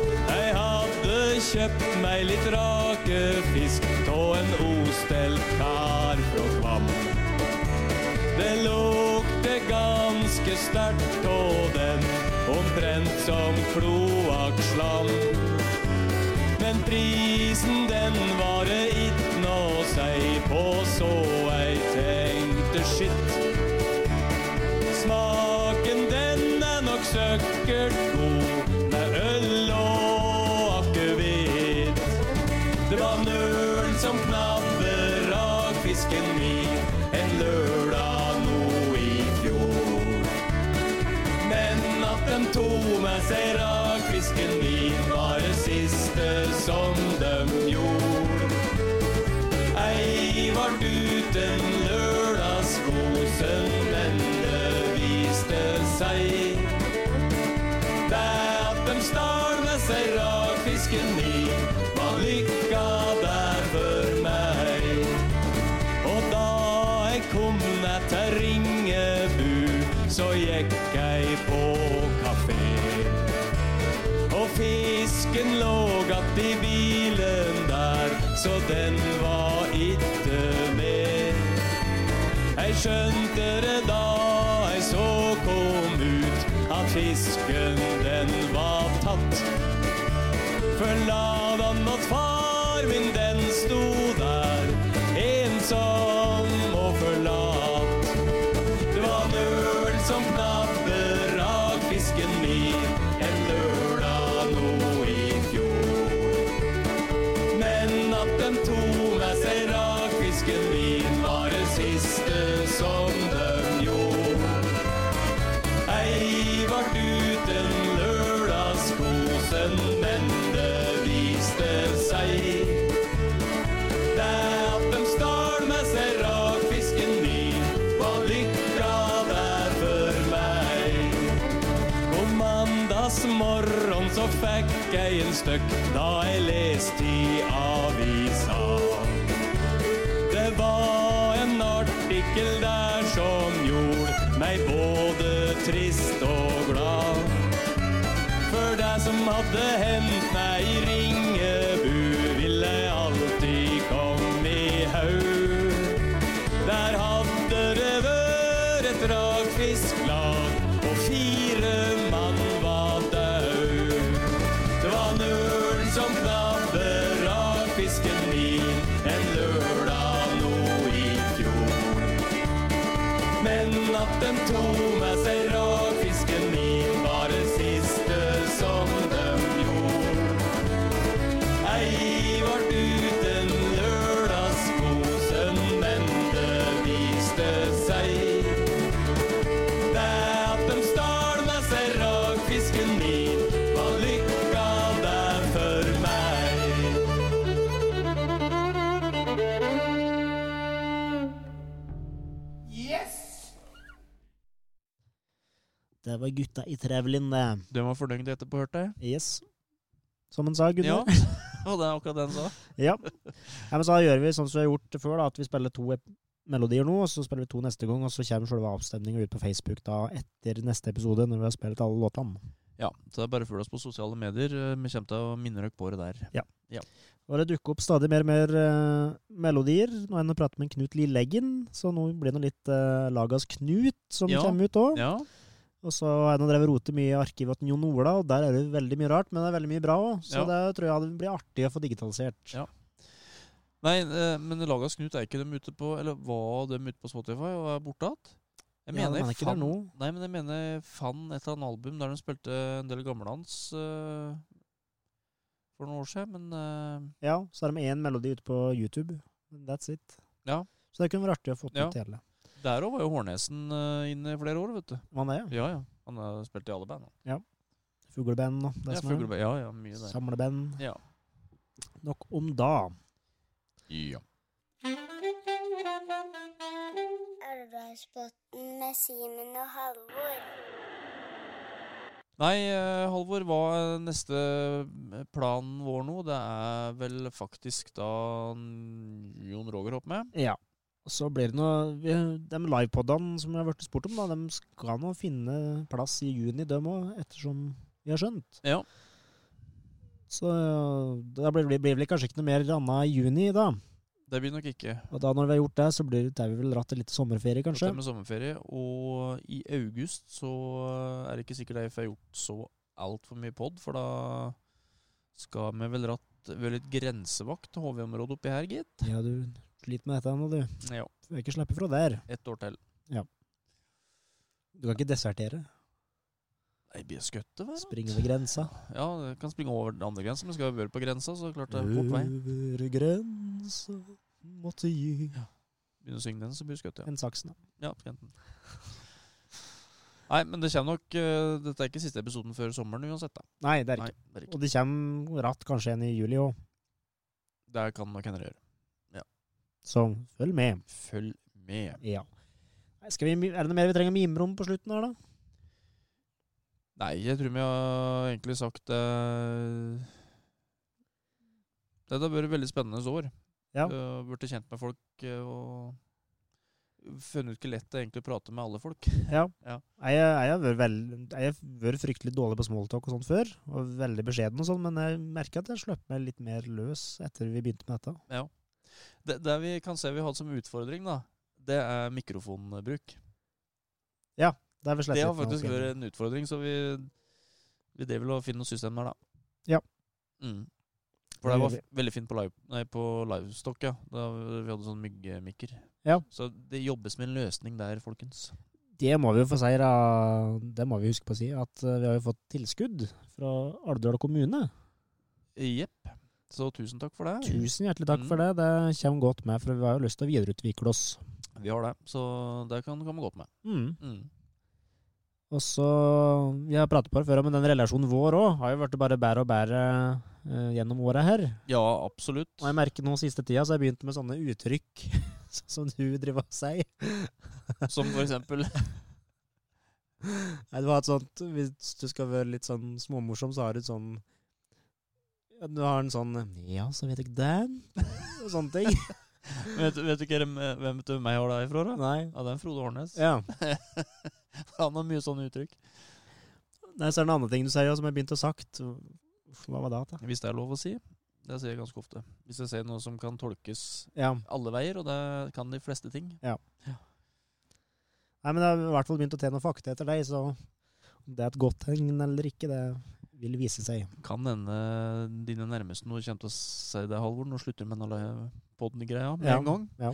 K: Jeg hadde kjøpt meg litt rakefisk tå en ostelt kar fra Kvam. Det lukter ganske sterkt tå den, omtrent som kloakkslam. Men prisen den var det ikke noe å si på, så jeg tenkte skitt. Smaken den er nok søkkert god, med øl og akevitt. Det var nølen som knabber rakfisken min en lørdag nå i fjor. Men at de tok med seg rakfisken min, var det siste som de gjorde. Ei vart uten lørdagskosen, men det viste seg det at de stal med seg rakfisken min, var lykka der for meg. Og da jeg kom ned til Ringebu, så gikk jeg på kafé. Og fisken lå att i bilen der, så den var ikke med. Jeg skjønte det da jeg så kom ut, at fisken den var tatt. For ladan mot far min, den sto der, ensom og forlatt. Det var nøl som knabbe rakfisken min en lørdag nå i fjor. Men at den tok med seg rakfisken min, var det siste som den gjorde. Ei vart uten lørdagskosen, men det viste seg Det at de stal med seg rakfisken min, var lykka der for meg. Om mandagsmorgen så fikk jeg en støkk da jeg leste i avisa. Det var en artikkel der som gjorde meg både trist og glad. For det som hadde hendt meg i Ringebu, ville alltid komme i haug. Der hadde det vært et rakfisklag, og fire mann var dau. Det var nølen som knabbe rakfisken min en lørdag nå i fjor. Men at den tok med seg rakfisken min, var det siste som de gjorde. Ei vart uten lørdagskosen, men det viste seg Det at de stal med seg rakfisken min, var lykka der for meg.
M: Yes!
B: Det var gutta i Trevlin, det.
C: De var fornøyd etterpå, hørte jeg.
B: Yes. Som han sa, Gunnar.
C: Ja,
B: (laughs)
C: og det er akkurat det han sa.
B: Ja. Nei, men så gjør vi sånn som vi har gjort før, da, at vi spiller to ep- melodier nå, og så spiller vi to neste gang, og så kommer selve avstemninga ut på Facebook da etter neste episode, når vi har spilt alle låtene.
C: Ja, så det er bare følg oss på sosiale medier. eh, Vi kommer til å minne dere på det der.
B: Ja.
C: Ja.
B: Og det dukker opp stadig mer og mer eh, melodier. Nå er jeg prater med Knut Lilleggen, så nå blir det noe litt eh, Lagas Knut som
C: Ja.
B: kommer ut òg.
C: Ja.
B: Og så har jeg nå drevet rotet mye i arkivet til Jon Ola, og der er det veldig mye rart, men det er veldig mye bra òg, så
C: Ja.
B: det tror jeg blir artig å få digitalisert.
C: Ja. Nei, eh, men Lagas Knut er ikke dem ute på Eller var dem ute på Spotify og er borte att? Jeg
B: Ja,
C: mener
B: men han er ikke der
C: fan-
B: nå.
C: Nei, men jeg mener jeg fant et eller annet album der de spilte en del gamle hans eh, for noen år siden, men eh,
B: Ja, så har de én melodi ute på YouTube. That's it.
C: Ja.
B: Så det kunne vært artig å få
C: Ja.
B: ut hele.
C: der òg var jo Hårnesen eh, inne i flere år, vet du.
B: Var han det,
C: ja? Ja, ja. Han har spilt i alle band. han.
B: Fugleband og det
C: Ja,
B: som er.
C: fugleband. Ja, ja, mye der.
B: Samleband.
C: Ja.
B: Nok om da.
C: Ja.
J: Arbeidsbåten med Simen og Halvor.
C: Nei, eh, Halvor, hva er neste eh, planen vår nå? Det er vel faktisk da Jon Roger hopper med?
B: Ja. Og så blir det noe vi, De livepodene som jeg har blitt spurt om, da, de skal nå finne plass i juni, dem òg, ettersom vi har skjønt.
C: Ja.
B: Så det blir, blir vel kanskje ikke noe mer annet i juni da.
C: Det blir nok ikke.
B: Og da når vi har gjort det, så blir det, tar vi vel dratt til litt sommerferie,
C: Dette
B: kanskje.
C: med sommerferie. Og i august så eh, er det ikke sikkert jeg får gjort så altfor mye pod, for da skal vi vel ratt Vi er litt grensevakt til HV-området oppi her, gitt.
B: Ja, du sliter med dette nå, du.
C: Ja.
B: Du vil ikke slippe fra der.
C: Ett år til.
B: Ja. Du kan ikke desertere.
C: Nei, blir skutt, hva?
B: Springe over grensa.
C: Ja, det kan springe over den andre grensa, men skal jo være på grensa, så klart det er fort vei.
B: Over grensa måtte gi
C: Begynner å synge den, så blir du skutt, ja.
B: En saksen,
C: Ja, på kanten. Nei, men det kommer nok eh, Dette er ikke siste episoden før sommeren uansett, da.
B: Nei, det er ikke.
C: det er ikke.
B: Og det kommer ratt kanskje en i juli òg,
C: Det kan nok hende det gjør. Ja.
B: så følg med.
C: Følg med.
B: Ja. Nei, Skal vi, er det noe mer vi trenger å mimre om på slutten her, da?
C: Nei, jeg tror vi har egentlig sagt eh, Dette har vært et veldig spennende år.
B: Ja.
C: Eh, Blitt kjent med folk eh, og funnet ut hvor lett det er egentlig å prate med alle folk.
B: Ja.
C: Ja.
B: Jeg, jeg, har vært veld- jeg har vært fryktelig dårlig på smalltalk og sånn før, og veldig beskjeden og sånn, men jeg merker at jeg slapp meg litt mer løs etter vi begynte med dette.
C: Ja. Det, det vi kan se vi hadde som utfordring, da, det er mikrofonbruk.
B: Ja, det har vi slett
C: Det har
B: litt med
C: faktisk
B: oss å gjøre.
C: vært en utfordring, så vi, vi driver vel og finner noen systemer, da.
B: Ja.
C: Mm.
B: Det
C: For det
B: gjør
C: var f- veldig fint på, live, nei, på livestock, ja. Da vi hadde sånn myggemikker.
B: Ja.
C: Så det jobbes med en løsning der, folkens.
B: Det må vi jo få si, da. Det må vi huske på å si, at eh, vi har jo fått tilskudd fra Alvdal kommune.
C: Jepp. Så tusen takk for det.
B: Tusen hjertelig takk for det. Det kommer godt med, for vi har jo lyst til å videreutvikle oss.
C: Vi har det, så det kan komme godt med.
B: Mm. Og så, Vi har pratet på det før, men den relasjonen vår òg har jo blitt bare bedre og bedre eh, gjennom året her.
C: Ja, absolutt.
B: Og jeg merker nå siste tida, så har jeg begynt med sånne uttrykk (laughs) som du driver og sier.
C: Som for eksempel (laughs)
B: Nei, det var et sånt Hvis du skal være litt sånn småmorsom, så har du et sånn ja, Du har en sånn Ja, så vet jeg det. (laughs) Og sånne ting.
C: vet, du- vet du ikke hvem, hvem du meg har deg ifra, da?
B: Nei.
C: Ja, det er Frode Hårnes.
B: Ja.
C: Han har mye sånne uttrykk.
B: Nei, så er det en annen ting du sier òg, som jeg begynte å sagt. Hva var det? da?
C: Hvis det er lov å si. Det sier jeg ganske ofte. Hvis jeg ser noe som kan tolkes
B: Ja.
C: alle veier, og det kan de fleste ting.
B: Nei, men det har i hvert fall begynt å tjene noen fakta etter deg, så om det er et godt tegn eller ikke, det vil vise seg.
C: Kan hende dine nærmeste nå kommer til å si det, Halvor. Nå slutter vi med den podden-greia med
B: Ja,
C: en gang.
B: ja.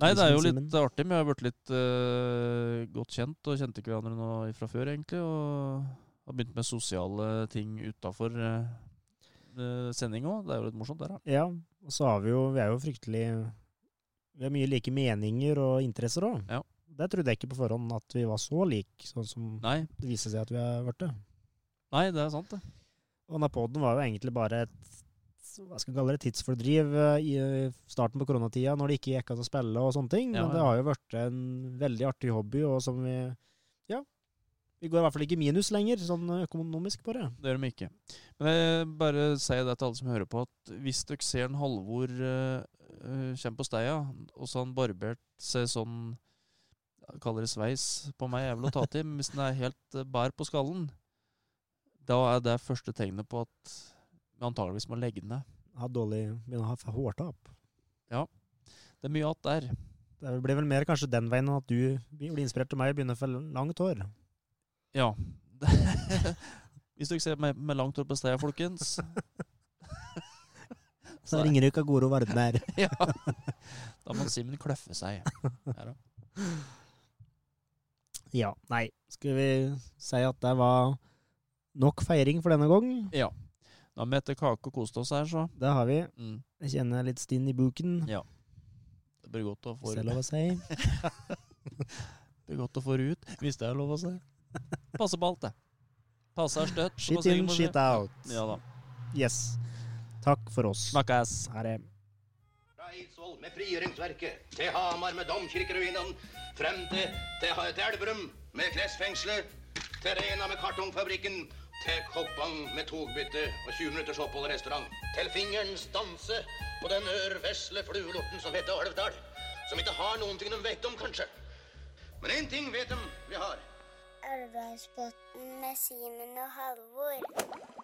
C: Nei, det er jo
B: Simen.
C: litt artig. Vi har blitt litt eh, godt kjent og kjente ikke hverandre nå fra før, egentlig. Og har begynt med sosiale ting utafor uh, sending òg. Det er jo litt morsomt, der, da.
B: Ja, og så har vi jo Vi er jo fryktelig Vi har mye like meninger og interesser òg.
C: Ja.
B: Det trodde jeg ikke på forhånd at vi var så like, sånn som
C: Nei,
B: det viser seg at vi har blitt det.
C: nei, det er sant, det.
B: Og Napoden var jo egentlig bare et hva skal vi kalle det, tidsfordriv eh, i eh, starten på koronatida, når det ikke gikk an å spille og sånne ting.
C: Ja,
B: Men det
C: ja.
B: har jo blitt en veldig artig hobby, og som vi Ja. Vi går i hvert fall ikke i minus lenger, sånn økonomisk på det.
C: Det gjør de ikke. Men jeg bare sier det til alle som hører på, at hvis dere ser en Halvor eh, eh, kommer på steia, og så har han barbert seg sånn jeg kaller det sveis på meg, er vel å ta til, men hvis den er helt eh, bar på skallen, da er det første tegnet på at vi antageligvis må legge den ned.
B: Har dårlig Begynner å ha f- hårtap.
C: Det er mye att der. (laughs)
B: Det blir vel mer kanskje den veien enn at du blir inspirert av meg og begynner å få langt hår.
C: Ja. hvis dere ser meg med langt hår på steia, folkens
B: Så ringer du ikke av Goro Vardner.
C: (laughs) Ja. Da må Simen kløffe seg. Ja da.
B: (laughs) Ja. Nei. Skal vi si at det var nok feiring for denne gang?
C: Ja. Da har vi etter kake og kost oss her, så.
B: Det har vi.
C: Mm.
B: Jeg kjenner litt stinn i buken.
C: Ja. Det blir godt å få
B: Hvis det er lov å si.
C: det blir godt å få det ut, hvis det er lov å si. Passe på alt, det. Passe er støtt. som
B: Shit
C: man sier
B: in,
C: må
B: shit
C: si.
B: out.
C: Ja da.
B: Yes. Takk for oss.
C: Snakkes.
B: Ha det.
M: Fra Eidsvoll med frigjøringsverket, til Hamar med domkirkeruinene, frem til, til, til Elverum med Kressfengselet, til Rena med kartongfabrikken, til Koppang med togbytte og 20 minutters opphold i restaurant, til fingerens danse på den ørvesle fluelorten som heter Alvdal, som ikke har noen ting de vet om, kanskje. Men én ting vet de vi har.
J: Elvdalsbotn med Simen og Halvor.